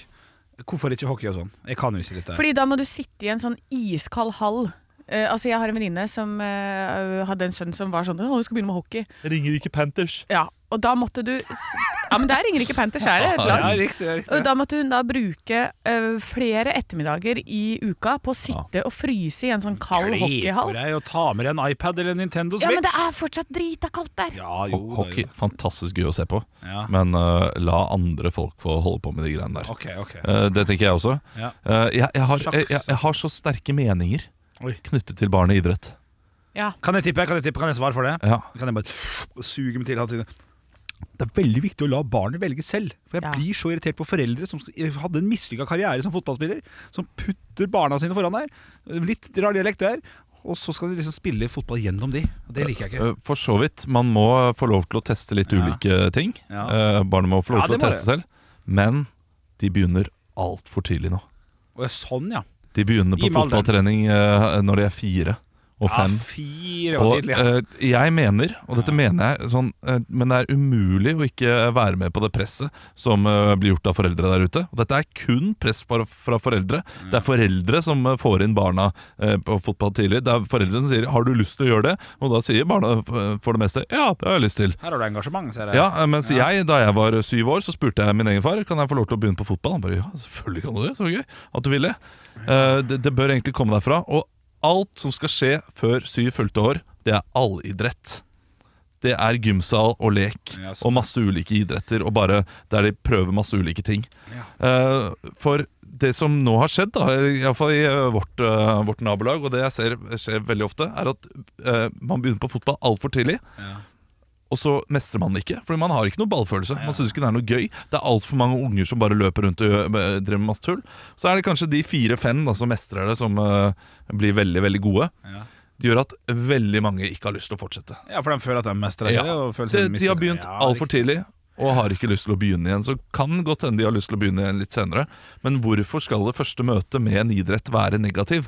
Speaker 2: Hvorfor ikke hockey og sånn? Jeg kan jo ikke dette.
Speaker 1: Fordi da må du sitte i en sånn iskald hall. Eh, altså Jeg har en venninne som eh, hadde en sønn som var sånn Å, hun skal begynne med hockey.
Speaker 3: Ringer ikke Panthers
Speaker 1: Ja, Og da måtte du s- Ja, men der ringer ikke Panthers, er det? Et
Speaker 2: ja,
Speaker 1: lag.
Speaker 2: riktig, riktig.
Speaker 1: Og da måtte hun da bruke eh, flere ettermiddager i uka på å sitte og fryse i en sånn kald
Speaker 2: Griper
Speaker 1: hockeyhall.
Speaker 2: deg og ta med deg en iPad eller en Nintendo
Speaker 1: Ja,
Speaker 2: Switch.
Speaker 1: men det er fortsatt drita kaldt der.
Speaker 2: Ja, jo,
Speaker 3: Ho-
Speaker 2: det er
Speaker 3: Hockey,
Speaker 2: jo det.
Speaker 3: fantastisk gøy å se på
Speaker 2: Ja.
Speaker 3: Men øh, la andre folk få holde på med de greiene der
Speaker 2: Ok, ok.
Speaker 3: Eh, Det tenker jeg også
Speaker 2: Ja.
Speaker 3: Eh, jeg, jeg, har,
Speaker 2: Sjakk.
Speaker 3: jeg, jeg, jeg har så sterke meninger
Speaker 2: Oi.
Speaker 3: Knyttet til barn i idrett
Speaker 1: Ja.
Speaker 2: Kan jeg tippe? Kan jeg tippe? Kan jeg svare for det?
Speaker 3: ja.
Speaker 2: Kan jeg bare suge meg til hans side? Det er veldig viktig å la barnet velge selv. For jeg
Speaker 1: Ja.
Speaker 2: blir så irritert på foreldre som hadde en mislykka karriere som fotballspiller, som putter barna sine foran der. Litt rar dialekt der. Og så skal de liksom spille fotball gjennom de. Og Det liker jeg ikke.
Speaker 3: Eh, For så vidt, man må få lov til å teste litt
Speaker 2: Ja.
Speaker 3: ulike ting
Speaker 2: Ja.
Speaker 3: Eh, Barnet må få lov
Speaker 2: Ja,
Speaker 3: til å
Speaker 2: det må
Speaker 3: teste selv Men de begynner alt for tidlig nå
Speaker 2: Og sånn, ja.
Speaker 3: De begynner på
Speaker 2: I med alderen.
Speaker 3: fotballtrening eh, når de er fire og fem
Speaker 2: ja fire var
Speaker 3: Og
Speaker 2: tidlig.
Speaker 3: eh, jeg mener, og dette mener jeg sånn, eh, Men det er umulig å ikke være med på det presset som eh, blir gjort av foreldre der ute. Og dette er kun press fra, fra foreldre. Det er foreldre som eh, får inn barna eh, på fotball tidlig. Det er foreldre som sier 'har du lyst til å gjøre det?' Og da sier barna eh, for det meste 'ja, det har jeg lyst til'.
Speaker 2: Her har du engasjement, ser jeg.
Speaker 3: Ja, eh, Mens jeg, da jeg var eh, syv år, så spurte jeg min egen far Kan jeg få lov til å begynne på fotball. Han bare ja, selvfølgelig kan du det. Så gøy at du ville. Eh, det, det bør egentlig komme derfra. Og alt som skal skje før syv fulgte år, det er allidrett. Det er gymsal og lek
Speaker 2: Ja, sånn.
Speaker 3: og masse ulike idretter, og bare der de prøver masse ulike ting. Eh, for det som nå har skjedd, da, iallfall i eh, vårt, eh, vårt nabolag, og det jeg ser skjer veldig ofte, er at eh, man begynner på fotball altfor tidlig. Og så mestrer man det ikke, fordi man har ikke noe ballfølelse. Man synes ikke det er noe gøy. Det er altfor mange unger som bare løper rundt og gjør- eh, driver med masse tull. Så er det kanskje de fire-fem da, som mestrer det, som eh, blir veldig, veldig gode. Det gjør at veldig mange ikke har lyst til å fortsette.
Speaker 2: Ja, for de føler at de mestrer
Speaker 3: Ja.
Speaker 2: seg. Og føler
Speaker 3: De,
Speaker 2: seg
Speaker 3: de har
Speaker 2: mislykket.
Speaker 3: begynt
Speaker 2: Ja,
Speaker 3: altfor
Speaker 2: riktig.
Speaker 3: tidlig og har ikke lyst til å begynne igjen. Så kan godt hende de har
Speaker 2: Mm.
Speaker 3: lyst til å begynne igjen litt senere. Men hvorfor skal det første møtet med en idrett være negativ?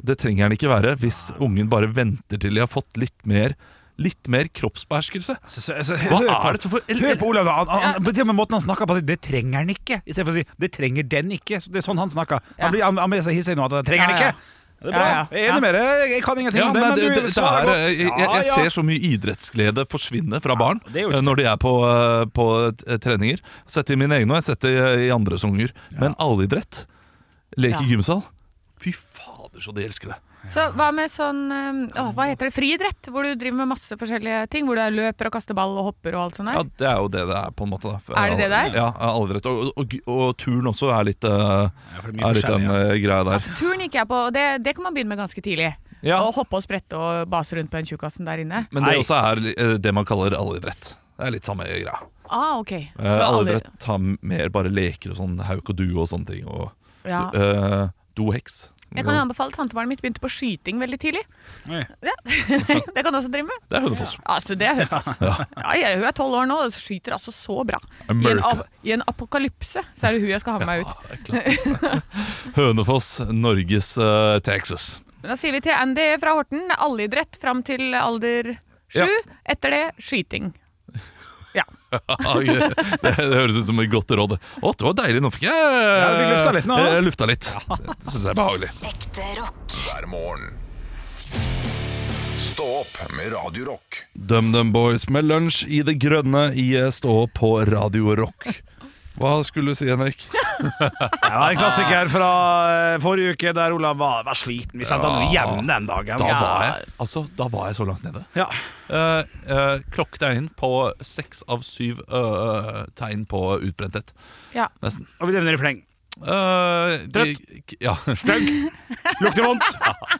Speaker 3: Det trenger den ikke være hvis ungen bare venter til de har fått litt mer, litt mer kroppsbeherskelse.
Speaker 2: Så, så, så,
Speaker 3: Hva
Speaker 2: hør på-
Speaker 3: er det som for
Speaker 2: Hør på Olav, da. Han, han, på den måten han snakker på, det, det trenger han ikke. I stedet for å si 'det trenger den ikke'. Så det er sånn han snakker.
Speaker 1: Ja.
Speaker 2: Han, blir, han, han blir så hissig nå at 'det
Speaker 1: Ja,
Speaker 2: trenger
Speaker 1: ja.
Speaker 2: han ikke'. Det er bra.
Speaker 1: Ja, ja.
Speaker 2: Jeg er enig
Speaker 1: Ja.
Speaker 2: med deg. Jeg kan ingenting
Speaker 3: Ja,
Speaker 2: om det,
Speaker 3: nei,
Speaker 2: men
Speaker 3: det,
Speaker 2: du
Speaker 3: det, det
Speaker 2: svarer
Speaker 3: er,
Speaker 2: godt.
Speaker 3: jeg, jeg, jeg
Speaker 2: Ja, ja.
Speaker 3: ser så mye idrettsglede forsvinne fra barn
Speaker 2: det er jo ikke
Speaker 3: eh, når de er på, eh, på eh, treninger. Sett i mine egne, og jeg setter i- i andres unger. Men allidrett, leke i
Speaker 1: Ja.
Speaker 3: gymsal Fy fader, så de elsker det.
Speaker 1: Så hva med sånn eh, åh, Hva heter det? Friidrett? Hvor du driver med masse forskjellige ting. Hvor du er løper og kaster ball og hopper og alt sånt
Speaker 3: Ja,
Speaker 1: der.
Speaker 3: Det er jo det det er, på en måte. Da.
Speaker 1: Er det det det er?
Speaker 3: Ja, allidrett. Og, og, og, og turn også er litt, eh,
Speaker 2: Ja, for det er mye
Speaker 3: er litt
Speaker 2: forskjellig,
Speaker 3: den
Speaker 2: ja.
Speaker 3: eh, greia der.
Speaker 1: Turn gikk jeg på, og det, det kan man begynne med ganske tidlig.
Speaker 3: Ja.
Speaker 1: Å hoppe og sprette og base rundt på den tjukkasen der inne.
Speaker 3: Men det
Speaker 2: Nei.
Speaker 3: også er eh, det man kaller allidrett. Det er litt samme greia.
Speaker 1: Ah, ok.
Speaker 3: Eh, Allidrett har mer bare leker og sånn hauk og due og sånne ting. Og
Speaker 1: Ja.
Speaker 3: eh, doheks.
Speaker 1: Jeg kan jo anbefale tantebarnet mitt begynte på skyting veldig tidlig.
Speaker 2: Oi.
Speaker 1: Ja. det kan du også drive med.
Speaker 3: Det er Hønefoss.
Speaker 1: Altså, det er Hønefoss. Ja, jeg, hun er tolv år nå og skyter altså så bra. I en,
Speaker 3: America.
Speaker 1: ap I en apokalypse så er det hun jeg skal ha med meg ut.
Speaker 3: Hønefoss, Norges eh, Texas.
Speaker 1: Men da sier vi til Andy fra Horten allidrett fram til alder sju. Etter det skyting. Ja.
Speaker 3: Ah, gøy. det, det høres ut som et godt råd. Å, det var deilig. Nå fikk jeg
Speaker 2: du fikk lufta litt nå.
Speaker 3: Jeg, lufta litt. Det syns jeg er behagelig.
Speaker 6: Ekte rock.
Speaker 4: hver morgen. Stå opp med Radio Rock.
Speaker 3: DumDum Boys med lunsj i det grønne i eh, Stå på Radio Rock. Hva skulle du si, Henrik?
Speaker 2: Ja, en klassiker fra eh, forrige uke der Olav var, var sliten. Vi sendte han hjem den dagen.
Speaker 3: Da
Speaker 2: Ja.
Speaker 3: var jeg, altså, da var jeg så langt nede.
Speaker 2: Ja.
Speaker 3: Uh, uh, klokk deg inn på seks av syv eh, tegn på utbrenthet,
Speaker 1: ja.
Speaker 3: nesten.
Speaker 2: Og vi nevner i fleng.
Speaker 3: Eh, de- Ja,
Speaker 2: Stygg. Lukter vondt.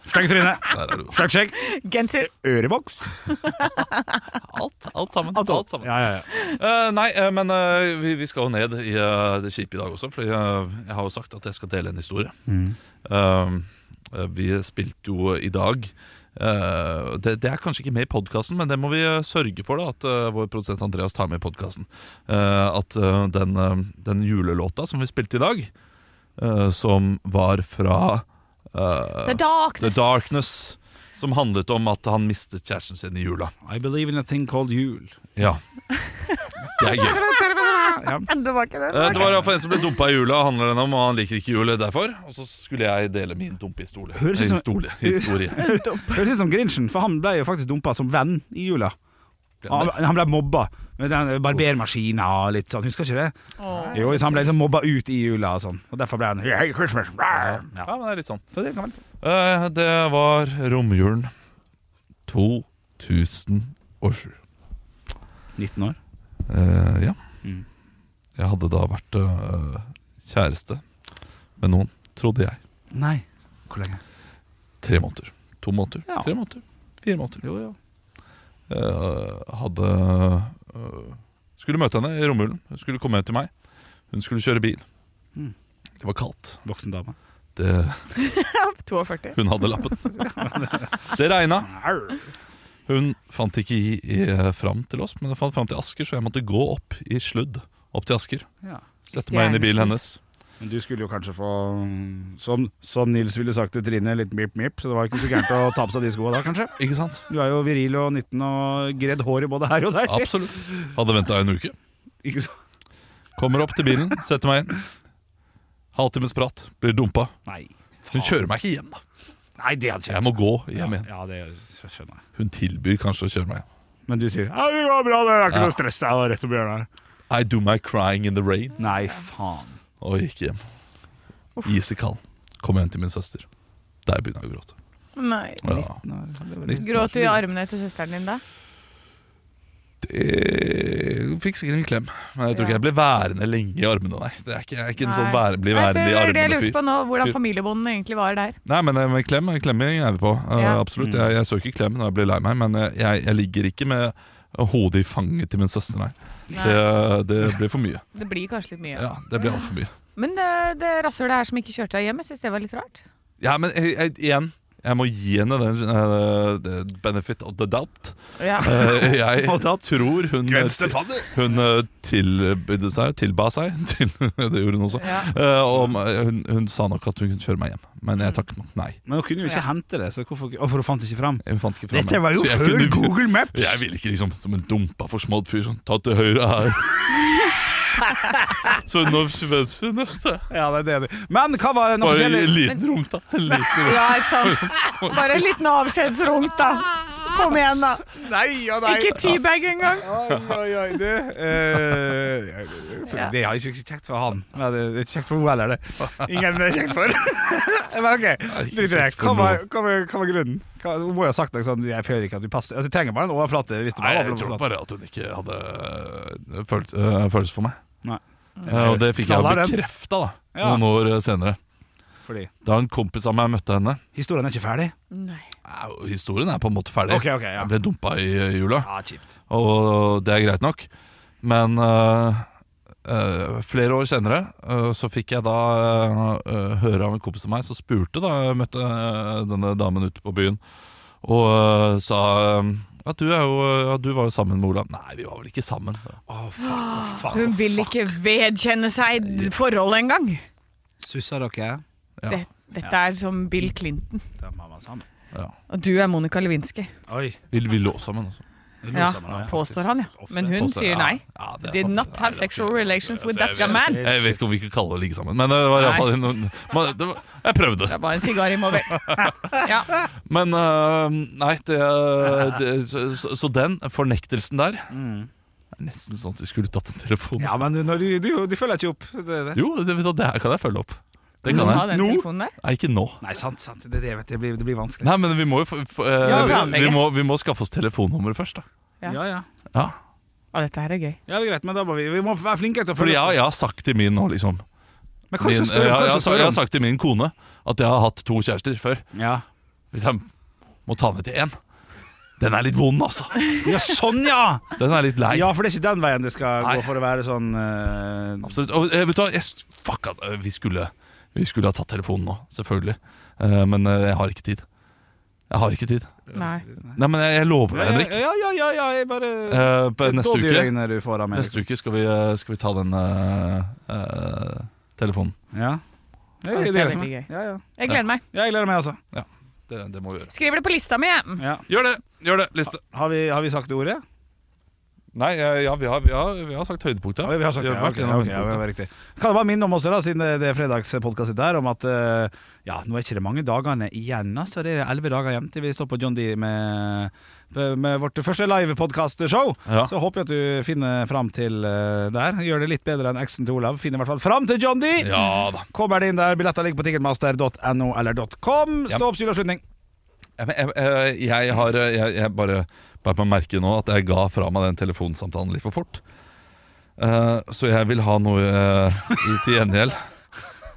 Speaker 2: Stygg tryne.
Speaker 3: der er du.
Speaker 2: Stygg skjegg.
Speaker 1: Genser.
Speaker 2: Øreboks.
Speaker 3: Alt, alt sammen. Alt, sammen.
Speaker 2: Ja, ja, ja.
Speaker 3: Eh, nei, eh, men eh, vi, vi skal jo ned i eh, det kjipe i dag også, Fordi eh, jeg har jo sagt at jeg skal dele en historie. Eh, eh, vi spilte jo i dag eh, det, det er kanskje ikke med i podkasten, men det må vi eh, sørge for. da At eh, vår produsent Andreas tar med i podkasten. at eh, den, eh, den julelåta som vi spilte i dag, eh, som var fra eh,
Speaker 1: The darkness.
Speaker 3: The Darkness, som handlet om at han mistet kjæresten sin i jula.
Speaker 2: I believe in a thing called jul.
Speaker 3: Ja. Det er gøy.
Speaker 2: Ja.
Speaker 3: Eh, Det var i hvert fall en som ble dumpa i jula, handler den om, og han liker ikke julet derfor. Og så skulle jeg dele min dumpehistorie.
Speaker 2: Høres ut som-
Speaker 3: Historie. historie.
Speaker 2: Høres ut som Grinchen, for han ble jo faktisk dumpa som venn i jula. Han, han ble mobba med den barbermaskina og litt sånn, husker ikke det? Jo, så han ble liksom mobba ut i jula og sånn, og derfor ble han hey, Christmas. Ja.
Speaker 3: Ja, men det er litt sånn.
Speaker 2: Så det kan være litt sånn.
Speaker 3: Eh, Det var romjulen 2007.
Speaker 2: 19 år.
Speaker 3: Eh, ja.
Speaker 2: Mm.
Speaker 3: Jeg hadde da vært eh, kjæreste med noen, trodde jeg.
Speaker 2: Nei. Hvor lenge?
Speaker 3: Tre måneder. To måneder.
Speaker 2: Ja.
Speaker 3: Tre måneder. Fire måneder.
Speaker 2: Jo, jo.
Speaker 3: Eh, hadde eh, Skulle møte henne i romjulen. Hun skulle komme hjem til meg. Hun skulle kjøre bil.
Speaker 2: Mm.
Speaker 3: Det var kaldt.
Speaker 2: Voksen dame.
Speaker 3: Det,
Speaker 1: 42.
Speaker 3: hun hadde lappen. Det regna. Hun fant ikke i, i, fram til oss, men hun fant fram til Asker, så jeg måtte gå opp i sludd. Opp til Asker.
Speaker 2: Ja.
Speaker 3: Sette meg inn i bilen
Speaker 1: Stjernesludd.
Speaker 3: hennes.
Speaker 2: Men du skulle jo kanskje få, som, som Nils ville sagt til Trine, litt mip-mip, så det var ikke så gærent å ta på seg de skoa da, kanskje?
Speaker 3: Ikke sant?
Speaker 2: Du er jo viril og 19 og gredd hår i både her og der. sier.
Speaker 3: Absolutt. Hadde venta en uke.
Speaker 2: Ikke så?
Speaker 3: Kommer opp til bilen, setter meg inn. Halvtimes prat, blir dumpa.
Speaker 2: Nei.
Speaker 3: Hun kjører meg ikke hjem, da.
Speaker 2: Nei, det hadde
Speaker 3: Jeg
Speaker 2: ikke
Speaker 3: må gå hjem igjen.
Speaker 2: Ja, det skjønner jeg.
Speaker 3: Hun tilbyr kanskje å kjøre meg hjem.
Speaker 2: Men du sier ja, det går bra, det er ikke noe stress. Jeg var rett og bjørn her.
Speaker 3: I do my crying in the rain
Speaker 2: Nei, faen.
Speaker 3: Og gikk hjem Isekald Kom hjem til min søster Der begynner jeg å gråte
Speaker 1: Nei.
Speaker 3: ja.
Speaker 1: Gråt du i armene til søsteren din da?
Speaker 3: Det fikk sikkert en klem Men jeg tror ikke jeg ble værende lenge i armene Nei, det er ikke, jeg er ikke en sånn
Speaker 1: Nei.
Speaker 3: være, bli
Speaker 1: Nei, for
Speaker 3: værende i
Speaker 1: det er det jeg
Speaker 3: armene
Speaker 1: lurte
Speaker 3: fyr
Speaker 1: på nå, hvordan
Speaker 3: Fyr.
Speaker 1: familiebåndene egentlig var der.
Speaker 3: Nei, men eh, med klem Klemming er vi på Eh,
Speaker 1: Ja. Mm.
Speaker 3: Absolutt, jeg, jeg søker klem når jeg blir lei meg Men eh, jeg, jeg ligger ikke med hodet i fanget til min søster Nei, Det, det blir for mye
Speaker 1: Det blir kanskje litt mye.
Speaker 3: Ja, det blir alt for mye
Speaker 1: Men det, det rasshølet her som ikke kjørte deg hjem, jeg syns det var litt rart.
Speaker 3: Ja, men jeg, jeg, eh, igjen jeg Jeg må gi henne den eh, the benefit of the doubt.
Speaker 1: Ja.
Speaker 3: Eh, jeg tror hun eh,
Speaker 2: Gwen Stefani!
Speaker 3: Hun eh, tilbydde seg, tilba seg til, Det gjorde hun også
Speaker 1: Ja.
Speaker 3: Eh, og, eh, hun, hun sa nok at hun kunne kjøre meg hjem Men jeg takket nok nei
Speaker 2: Men hun kunne jo ikke
Speaker 1: Ja.
Speaker 2: hente det, så hvorfor Å, for hun fant ikke fram.
Speaker 3: Hun fant ikke frem
Speaker 2: Dette var jo
Speaker 3: Så jeg
Speaker 2: før
Speaker 3: kunne-
Speaker 2: Google Maps.
Speaker 3: Jeg ville ikke liksom som en dumpa forsmådd fyr Sånn, ta til høyre her Så nå til venstre neste
Speaker 2: Ja, det er det jeg mener. Men hva var
Speaker 3: Bare en
Speaker 2: den offisielle
Speaker 3: liten runk da En liten runk.
Speaker 1: ja, ikke sant? Bare en liten avskjedsrunk, da. Kom igjen, da.
Speaker 2: Nei og nei!
Speaker 1: Ikke teabag engang.
Speaker 2: Oi, oi, oi, du. Eh, ja, det-
Speaker 1: Ja.
Speaker 2: det er jo ikke kjekt for han. Nei, det det er ikke kjekt for henne heller, det. Ingen det er kjekt for. Men OK, drit i det. Hva var, hva var, hva var grunnen? Hva, hun må jo ha sagt noe sånn Jeg føler ikke at du passer Altså, Du trenger bare en overflate. Hvis du
Speaker 3: Nei,
Speaker 2: bare har
Speaker 3: jeg tror
Speaker 2: overflate.
Speaker 3: bare at hun ikke hadde eh, følt, eh, følelse for meg
Speaker 2: Nei.
Speaker 3: Eh, Og det fikk jeg
Speaker 2: Knallhard den.
Speaker 3: bekreftet da
Speaker 2: Ja.
Speaker 3: Noen år eh, senere
Speaker 2: Fordi
Speaker 3: Da en kompis av meg møtte henne
Speaker 2: historien er ikke ferdig.
Speaker 1: Nei.
Speaker 3: Ja, Historien er på en måte ferdig.
Speaker 2: Ok, ok, ja.
Speaker 3: Jeg ble dumpa i eh, jula,
Speaker 2: Ja, kjipt.
Speaker 3: og det er greit nok. Men eh, eh, flere år senere eh, så fikk jeg da eh, eh, høre av en kompis av meg som spurte da jeg møtte eh, denne damen ute på byen, og eh, sa eh, at du, er jo, ja, du var jo sammen med Ola. Nei, vi var vel ikke sammen. sa jeg.
Speaker 2: Å, fuck, å, fuck.
Speaker 1: Hun vil ikke vedkjenne seg d- forholdet engang.
Speaker 2: Sussa dere?
Speaker 3: Ja.
Speaker 1: Det, dette er som Bill Clinton.
Speaker 2: Da må man sammen.
Speaker 1: Og du er Monica Lewinsky.
Speaker 2: Oi.
Speaker 3: Vi, vi lå sammen altså. også.
Speaker 2: vi lå
Speaker 1: Ja,
Speaker 2: sammen, ja.
Speaker 1: påstår han, ja.
Speaker 2: Ofte.
Speaker 1: Men hun
Speaker 3: Også, ja.
Speaker 1: sier nei.
Speaker 3: Ja, det er
Speaker 1: Did
Speaker 3: sant.
Speaker 1: not have
Speaker 3: Nei,
Speaker 1: sexual
Speaker 3: ok.
Speaker 1: relations with
Speaker 3: Altså,
Speaker 1: that
Speaker 3: jeg-
Speaker 1: man.
Speaker 3: Jeg vet ikke om vi kan kalle det å ligge sammen, men det var
Speaker 1: Nei.
Speaker 3: iallfall noen man- det var- Jeg prøvde.
Speaker 1: Det er bare en sigar involvert. Ja.
Speaker 3: Men øh, nei, det, det så, så- så den fornektelsen der
Speaker 1: Mm.
Speaker 3: Det er nesten sånn at du skulle tatt en telefon.
Speaker 2: Ja, men når de, de, de følger ikke opp. Det, er det.
Speaker 3: Jo, det, det, her kan jeg følge opp. Det kan
Speaker 1: Kan du ta
Speaker 3: jeg.
Speaker 1: den
Speaker 2: Nå?
Speaker 1: telefonen der?
Speaker 3: Nei, ikke nå.
Speaker 2: Nei, sant. sant. Det, er det, vet du, det, blir, det blir vanskelig.
Speaker 3: Nei, men vi må jo få- få- øh,
Speaker 2: Ja,
Speaker 3: vi,
Speaker 1: planlegge.
Speaker 3: vi, må, vi må skaffe oss telefonnummeret først, da.
Speaker 1: Ja.
Speaker 2: Ja, ja.
Speaker 3: Ja.
Speaker 1: Å, dette her er gøy.
Speaker 2: Ja, det er greit, men da må vi, vi må være flinkere til å
Speaker 3: Fordi
Speaker 2: følge
Speaker 3: jeg,
Speaker 2: opp.
Speaker 3: jeg har sagt til min nå, liksom
Speaker 2: Men
Speaker 3: min,
Speaker 2: kanskje
Speaker 3: øh,
Speaker 2: spørre
Speaker 3: jeg, jeg,
Speaker 2: kanskje
Speaker 3: har sa- jeg har
Speaker 2: spørre om-
Speaker 3: sagt til min kone at jeg har hatt to kjærester før.
Speaker 2: Ja.
Speaker 3: Hvis jeg må ta ned til én. Den er litt vond, altså.
Speaker 2: ja, sånn ja!
Speaker 3: Den er litt lei.
Speaker 2: Ja, for det er ikke den veien det skal
Speaker 3: Nei.
Speaker 2: gå for å være sånn eh,
Speaker 3: Absolutt. Og eh, vet du hva, jeg, s- fuck at eh, vi skulle, vi skulle ha tatt telefonen nå, selvfølgelig. Eh, men eh, jeg har ikke tid. Jeg har ikke tid.
Speaker 1: Nei.
Speaker 3: Nei, men jeg, jeg lover deg, Henrik.
Speaker 2: Ja, ja, ja, ja, jeg bare
Speaker 3: Eh, på neste uke,
Speaker 2: Dådyrøyne du får av meg. liksom.
Speaker 3: neste uke skal, vi, eh, skal vi ta den eh, eh, telefonen.
Speaker 2: Ja. Ja,
Speaker 1: Ja, det
Speaker 2: det er
Speaker 1: er
Speaker 2: det som
Speaker 1: veldig
Speaker 2: er.
Speaker 1: gøy.
Speaker 2: Ja, ja.
Speaker 1: Jeg gleder meg.
Speaker 2: Jeg gleder meg, altså.
Speaker 3: Det, det må vi gjøre.
Speaker 1: Skriver det på lista mi, jeg.
Speaker 2: Ja.
Speaker 3: Gjør det! gjør det, liste
Speaker 2: Har, vi, har vi sagt ordet?
Speaker 3: Nei, eh, ja, vi har, vi har, vi har sagt høydepunktet.
Speaker 2: Ah. Ja, vi har sagt det.
Speaker 3: Vi
Speaker 2: Ja,
Speaker 3: vært
Speaker 2: ok,
Speaker 3: gjennom
Speaker 2: ok, ja, det
Speaker 3: høydepunktet.
Speaker 2: var riktig. Kan jeg bare minne om også, da, siden eh, det- det er fredagspodkastet der, om at eh, ja, nå er ikke det mange dagene igjen. Altså, det er elleve dager igjen til vi står på John D med, med vårt første livepodkastshow.
Speaker 3: Ja.
Speaker 2: Så håper jeg at du finner fram til eh, der. Gjør det litt bedre enn eksen til Olav. Finner i hvert fall fram til John D!
Speaker 3: Ja da.
Speaker 2: Kommer det inn der. Billetter ligger på ticketmaster.no eller .com.
Speaker 3: Ja.
Speaker 2: Stå opp, juleavslutning.
Speaker 3: Ja, men Jeg, jeg, jeg har eh, jeg, jeg bare Bare på merke nå at jeg ga fra meg den telefonsamtalen litt for fort. Eh, så jeg vil ha noe eh, i til gjengjeld.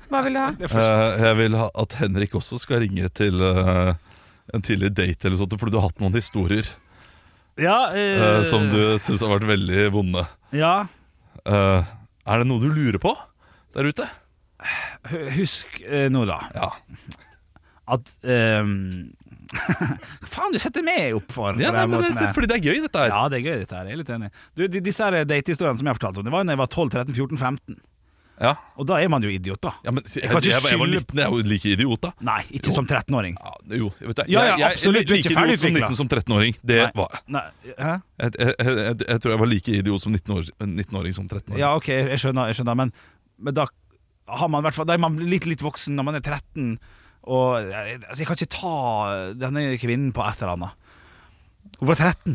Speaker 1: Hva vil du ha?
Speaker 3: Eh, jeg vil ha at Henrik også skal ringe til eh, en tidlig date eller sånt, fordi du har hatt noen historier
Speaker 2: Ja,
Speaker 3: eh, som du syns har vært veldig vonde.
Speaker 2: ja.
Speaker 3: Eh, er det noe du lurer på der ute?
Speaker 2: Hu- Husk eh, nå, da.
Speaker 3: Ja.
Speaker 2: at ehm, Faen, du setter meg opp for
Speaker 3: ja nei,
Speaker 2: for
Speaker 3: men det,
Speaker 2: den måten
Speaker 3: det,
Speaker 2: her.
Speaker 3: fordi det er gøy, dette her.
Speaker 2: Ja, det er gøy, dette her. Jeg er litt enig. Du, de, disse her datehistoriene som jeg fortalte om, det var da jeg var 12, 13, 14, 15.
Speaker 3: Ja.
Speaker 2: Og da er man jo idiot, da.
Speaker 3: Ja, men, jeg,
Speaker 2: kan
Speaker 3: jeg,
Speaker 2: ikke
Speaker 3: jeg, var
Speaker 2: skylde-
Speaker 3: liten, jeg er jo like idiot, da.
Speaker 2: Nei, ikke
Speaker 3: Jo.
Speaker 2: som 13-åring.
Speaker 3: Ja, jo, jeg vet det.
Speaker 2: Ja, ja,
Speaker 3: Jeg- jeg-
Speaker 2: absolutt, du er
Speaker 3: Like
Speaker 2: ikke ferdig
Speaker 3: idiot som
Speaker 2: utviklet.
Speaker 3: 19 som 13-åring. Det
Speaker 2: Nei.
Speaker 3: var jeg.
Speaker 2: Nei, hæ?
Speaker 3: Jeg, jeg, jeg, jeg, jeg tror jeg var like idiot som 19-åring 19 som 13-åring.
Speaker 2: Ja, OK, jeg skjønner, jeg skjønner men, men da har man i hvert fall Da er man litt, litt voksen når man er 13, og jeg, altså, jeg kan ikke ta denne kvinnen på et eller annet. Hun var 13.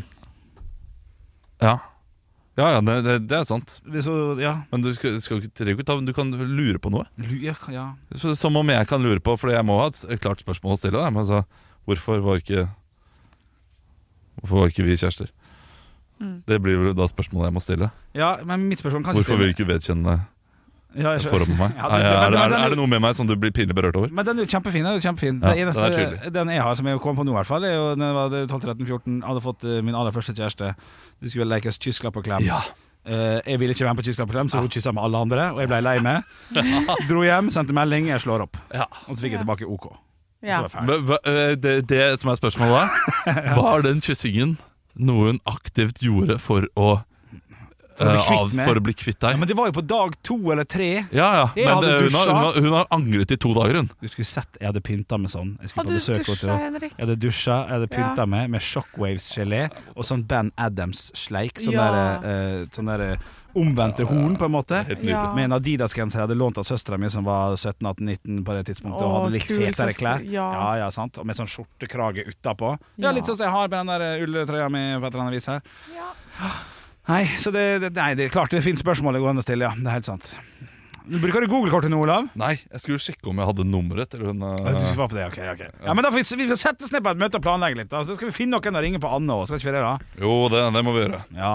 Speaker 3: Ja, ja, ja det, det, det er sant.
Speaker 2: Det er så, ja.
Speaker 3: Men du, skal, skal, ikke- trenger ikke ta, du kan lure på noe.
Speaker 2: Lu- ja, ja.
Speaker 3: Så, som om jeg kan lure på, for jeg må ha et s- et klart spørsmål å stille. Da. Men altså, hvorfor var ikke Hvorfor var ikke vi kjærester? Det blir vel da spørsmålet jeg må stille.
Speaker 2: ja, men mitt spørsmål kan ikke
Speaker 3: Hvorfor vil du ikke vedkjenne
Speaker 2: Ja, jeg
Speaker 3: deg
Speaker 2: skjønner.
Speaker 3: forholdet med meg?
Speaker 2: Ja,
Speaker 3: er,
Speaker 2: det-
Speaker 3: er,
Speaker 2: men-
Speaker 3: det- er, det-
Speaker 2: men-
Speaker 3: er det noe med meg som du blir pinlig berørt over?
Speaker 2: Men den er jo kjempefin. Den, er jo kjempefin.
Speaker 3: Ja,
Speaker 2: den, eneste,
Speaker 3: den er
Speaker 2: den, jeg har, som jeg kom på nå, i hvert fall, er jo da jeg var 12-13-14, hadde fått eh, min aller første kjæreste. Det skulle lekes kyssklapp og klem.
Speaker 3: Ja. Ah.
Speaker 2: Eh, jeg ville ikke være med på kyssklapp og klem, så hun kyssa med alle andre, og jeg ble lei meg. Dro hjem, sendte melding, jeg slår opp.
Speaker 3: Ja.
Speaker 2: Og så fikk jeg tilbake OK.
Speaker 1: Ja.
Speaker 2: Så var jeg ferdig.
Speaker 3: Hva- hva- eh, Det, det som er spørsmålet da Var den kyssingen noe hun aktivt gjorde for å,
Speaker 2: å bli
Speaker 3: eh,
Speaker 2: kvitt
Speaker 3: av,
Speaker 2: meg?
Speaker 3: for å bli kvitt
Speaker 2: Ja,
Speaker 3: deg?
Speaker 2: men det var jo på dag to eller tre.
Speaker 3: Ja, ja,
Speaker 2: Jeg
Speaker 3: men
Speaker 2: hadde
Speaker 3: eh, hun har,
Speaker 2: dusja.
Speaker 3: hun, har, hun har angret i to dager, hun.
Speaker 2: Du skulle sett jeg hadde pynta meg sånn. Jeg
Speaker 1: Og
Speaker 2: skulle
Speaker 1: du
Speaker 2: på besøk hos
Speaker 1: dusja, Henrik.
Speaker 2: Jeg hadde dusja, jeg hadde pynta
Speaker 1: Ja.
Speaker 2: meg med shockwaves-gelé og sånn Ben Adams-sleik. Sånn
Speaker 1: Ja.
Speaker 2: der, eh, sånn der eh, omvendte horn, på en måte.
Speaker 1: nydelig. Ja.
Speaker 2: Med en Adidas-genser jeg hadde lånt av søstera mi som var 17-18-19 på det tidspunktet og
Speaker 1: Åh,
Speaker 2: hadde litt
Speaker 1: kul
Speaker 2: fetere
Speaker 1: søster,
Speaker 2: klær.
Speaker 1: ja.
Speaker 2: ja, sant. Og med sånn skjortekrage utapå.
Speaker 1: Ja.
Speaker 2: Ja, litt sånn som jeg har med den der eh, ulltrøya mi på et eller annet vis her. Nei, så det, det, nei, det er klart det finnes spørsmål det går an å stille, ja. Det er helt sant. Du Bruker du Google-kortet nå, Olav?
Speaker 3: Nei, jeg skulle sjekke om jeg hadde nummeret til hun. eh,
Speaker 2: Ja, du skal svare på det, ok, ok Ja, men da får vi, vi får sette oss ned på et møte og planlegge litt da. Så skal vi finne noen å ringe på Anne også, skal ikke vi det da?
Speaker 3: Jo, det, det må vi gjøre.
Speaker 2: Ja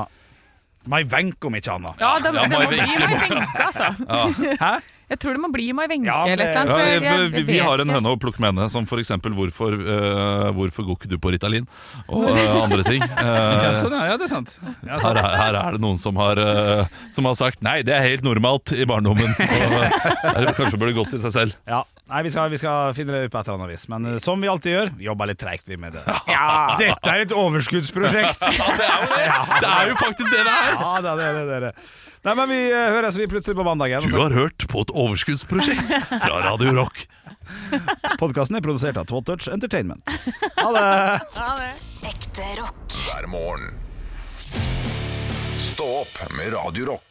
Speaker 2: Mai Wenche om ikke Anna
Speaker 1: Ja, det,
Speaker 3: Ja,
Speaker 1: det må
Speaker 3: Mai
Speaker 1: bli
Speaker 3: Wenche,
Speaker 1: Mai Wenche, altså.
Speaker 2: Hæ?
Speaker 1: Jeg tror det må bli Mai Wenche
Speaker 2: Ja,
Speaker 1: eller
Speaker 3: Ja, jeg,
Speaker 1: et eller
Speaker 2: men-
Speaker 1: annet. for jeg-
Speaker 3: vi,
Speaker 1: jeg
Speaker 3: vi
Speaker 1: vet
Speaker 3: har en
Speaker 1: ikke.
Speaker 3: høne å plukke med henne, som for eksempel hvorfor, eh, 'Hvorfor går ikke du på Ritalin?' og eh, andre ting. Eh,
Speaker 2: Ja, sånn, ja, ja, det er sant ja,
Speaker 3: her,
Speaker 2: sant.
Speaker 3: er- her er det noen som har, eh, som har sagt 'nei, det er helt normalt' i barndommen. Og, eller kanskje burde gått til seg selv.
Speaker 2: ja. Nei, vi skal, vi skal finne det ut på et eller annet vis Men eh, som vi alltid gjør, jobber litt tregt vi med det Ja, dette er et overskuddsprosjekt
Speaker 3: Det er jo faktisk det det er!
Speaker 2: Ja, det er det, det er det Nei, men vi eh, høres vi plutselig på mandagen
Speaker 3: Du har hørt på et overskuddsprosjekt fra Radio Rock.
Speaker 2: Podcasten er produsert av Twatouch Entertainment Ha det!
Speaker 6: Ekte rock.
Speaker 4: hver morgen. Stå opp med Radio Rock.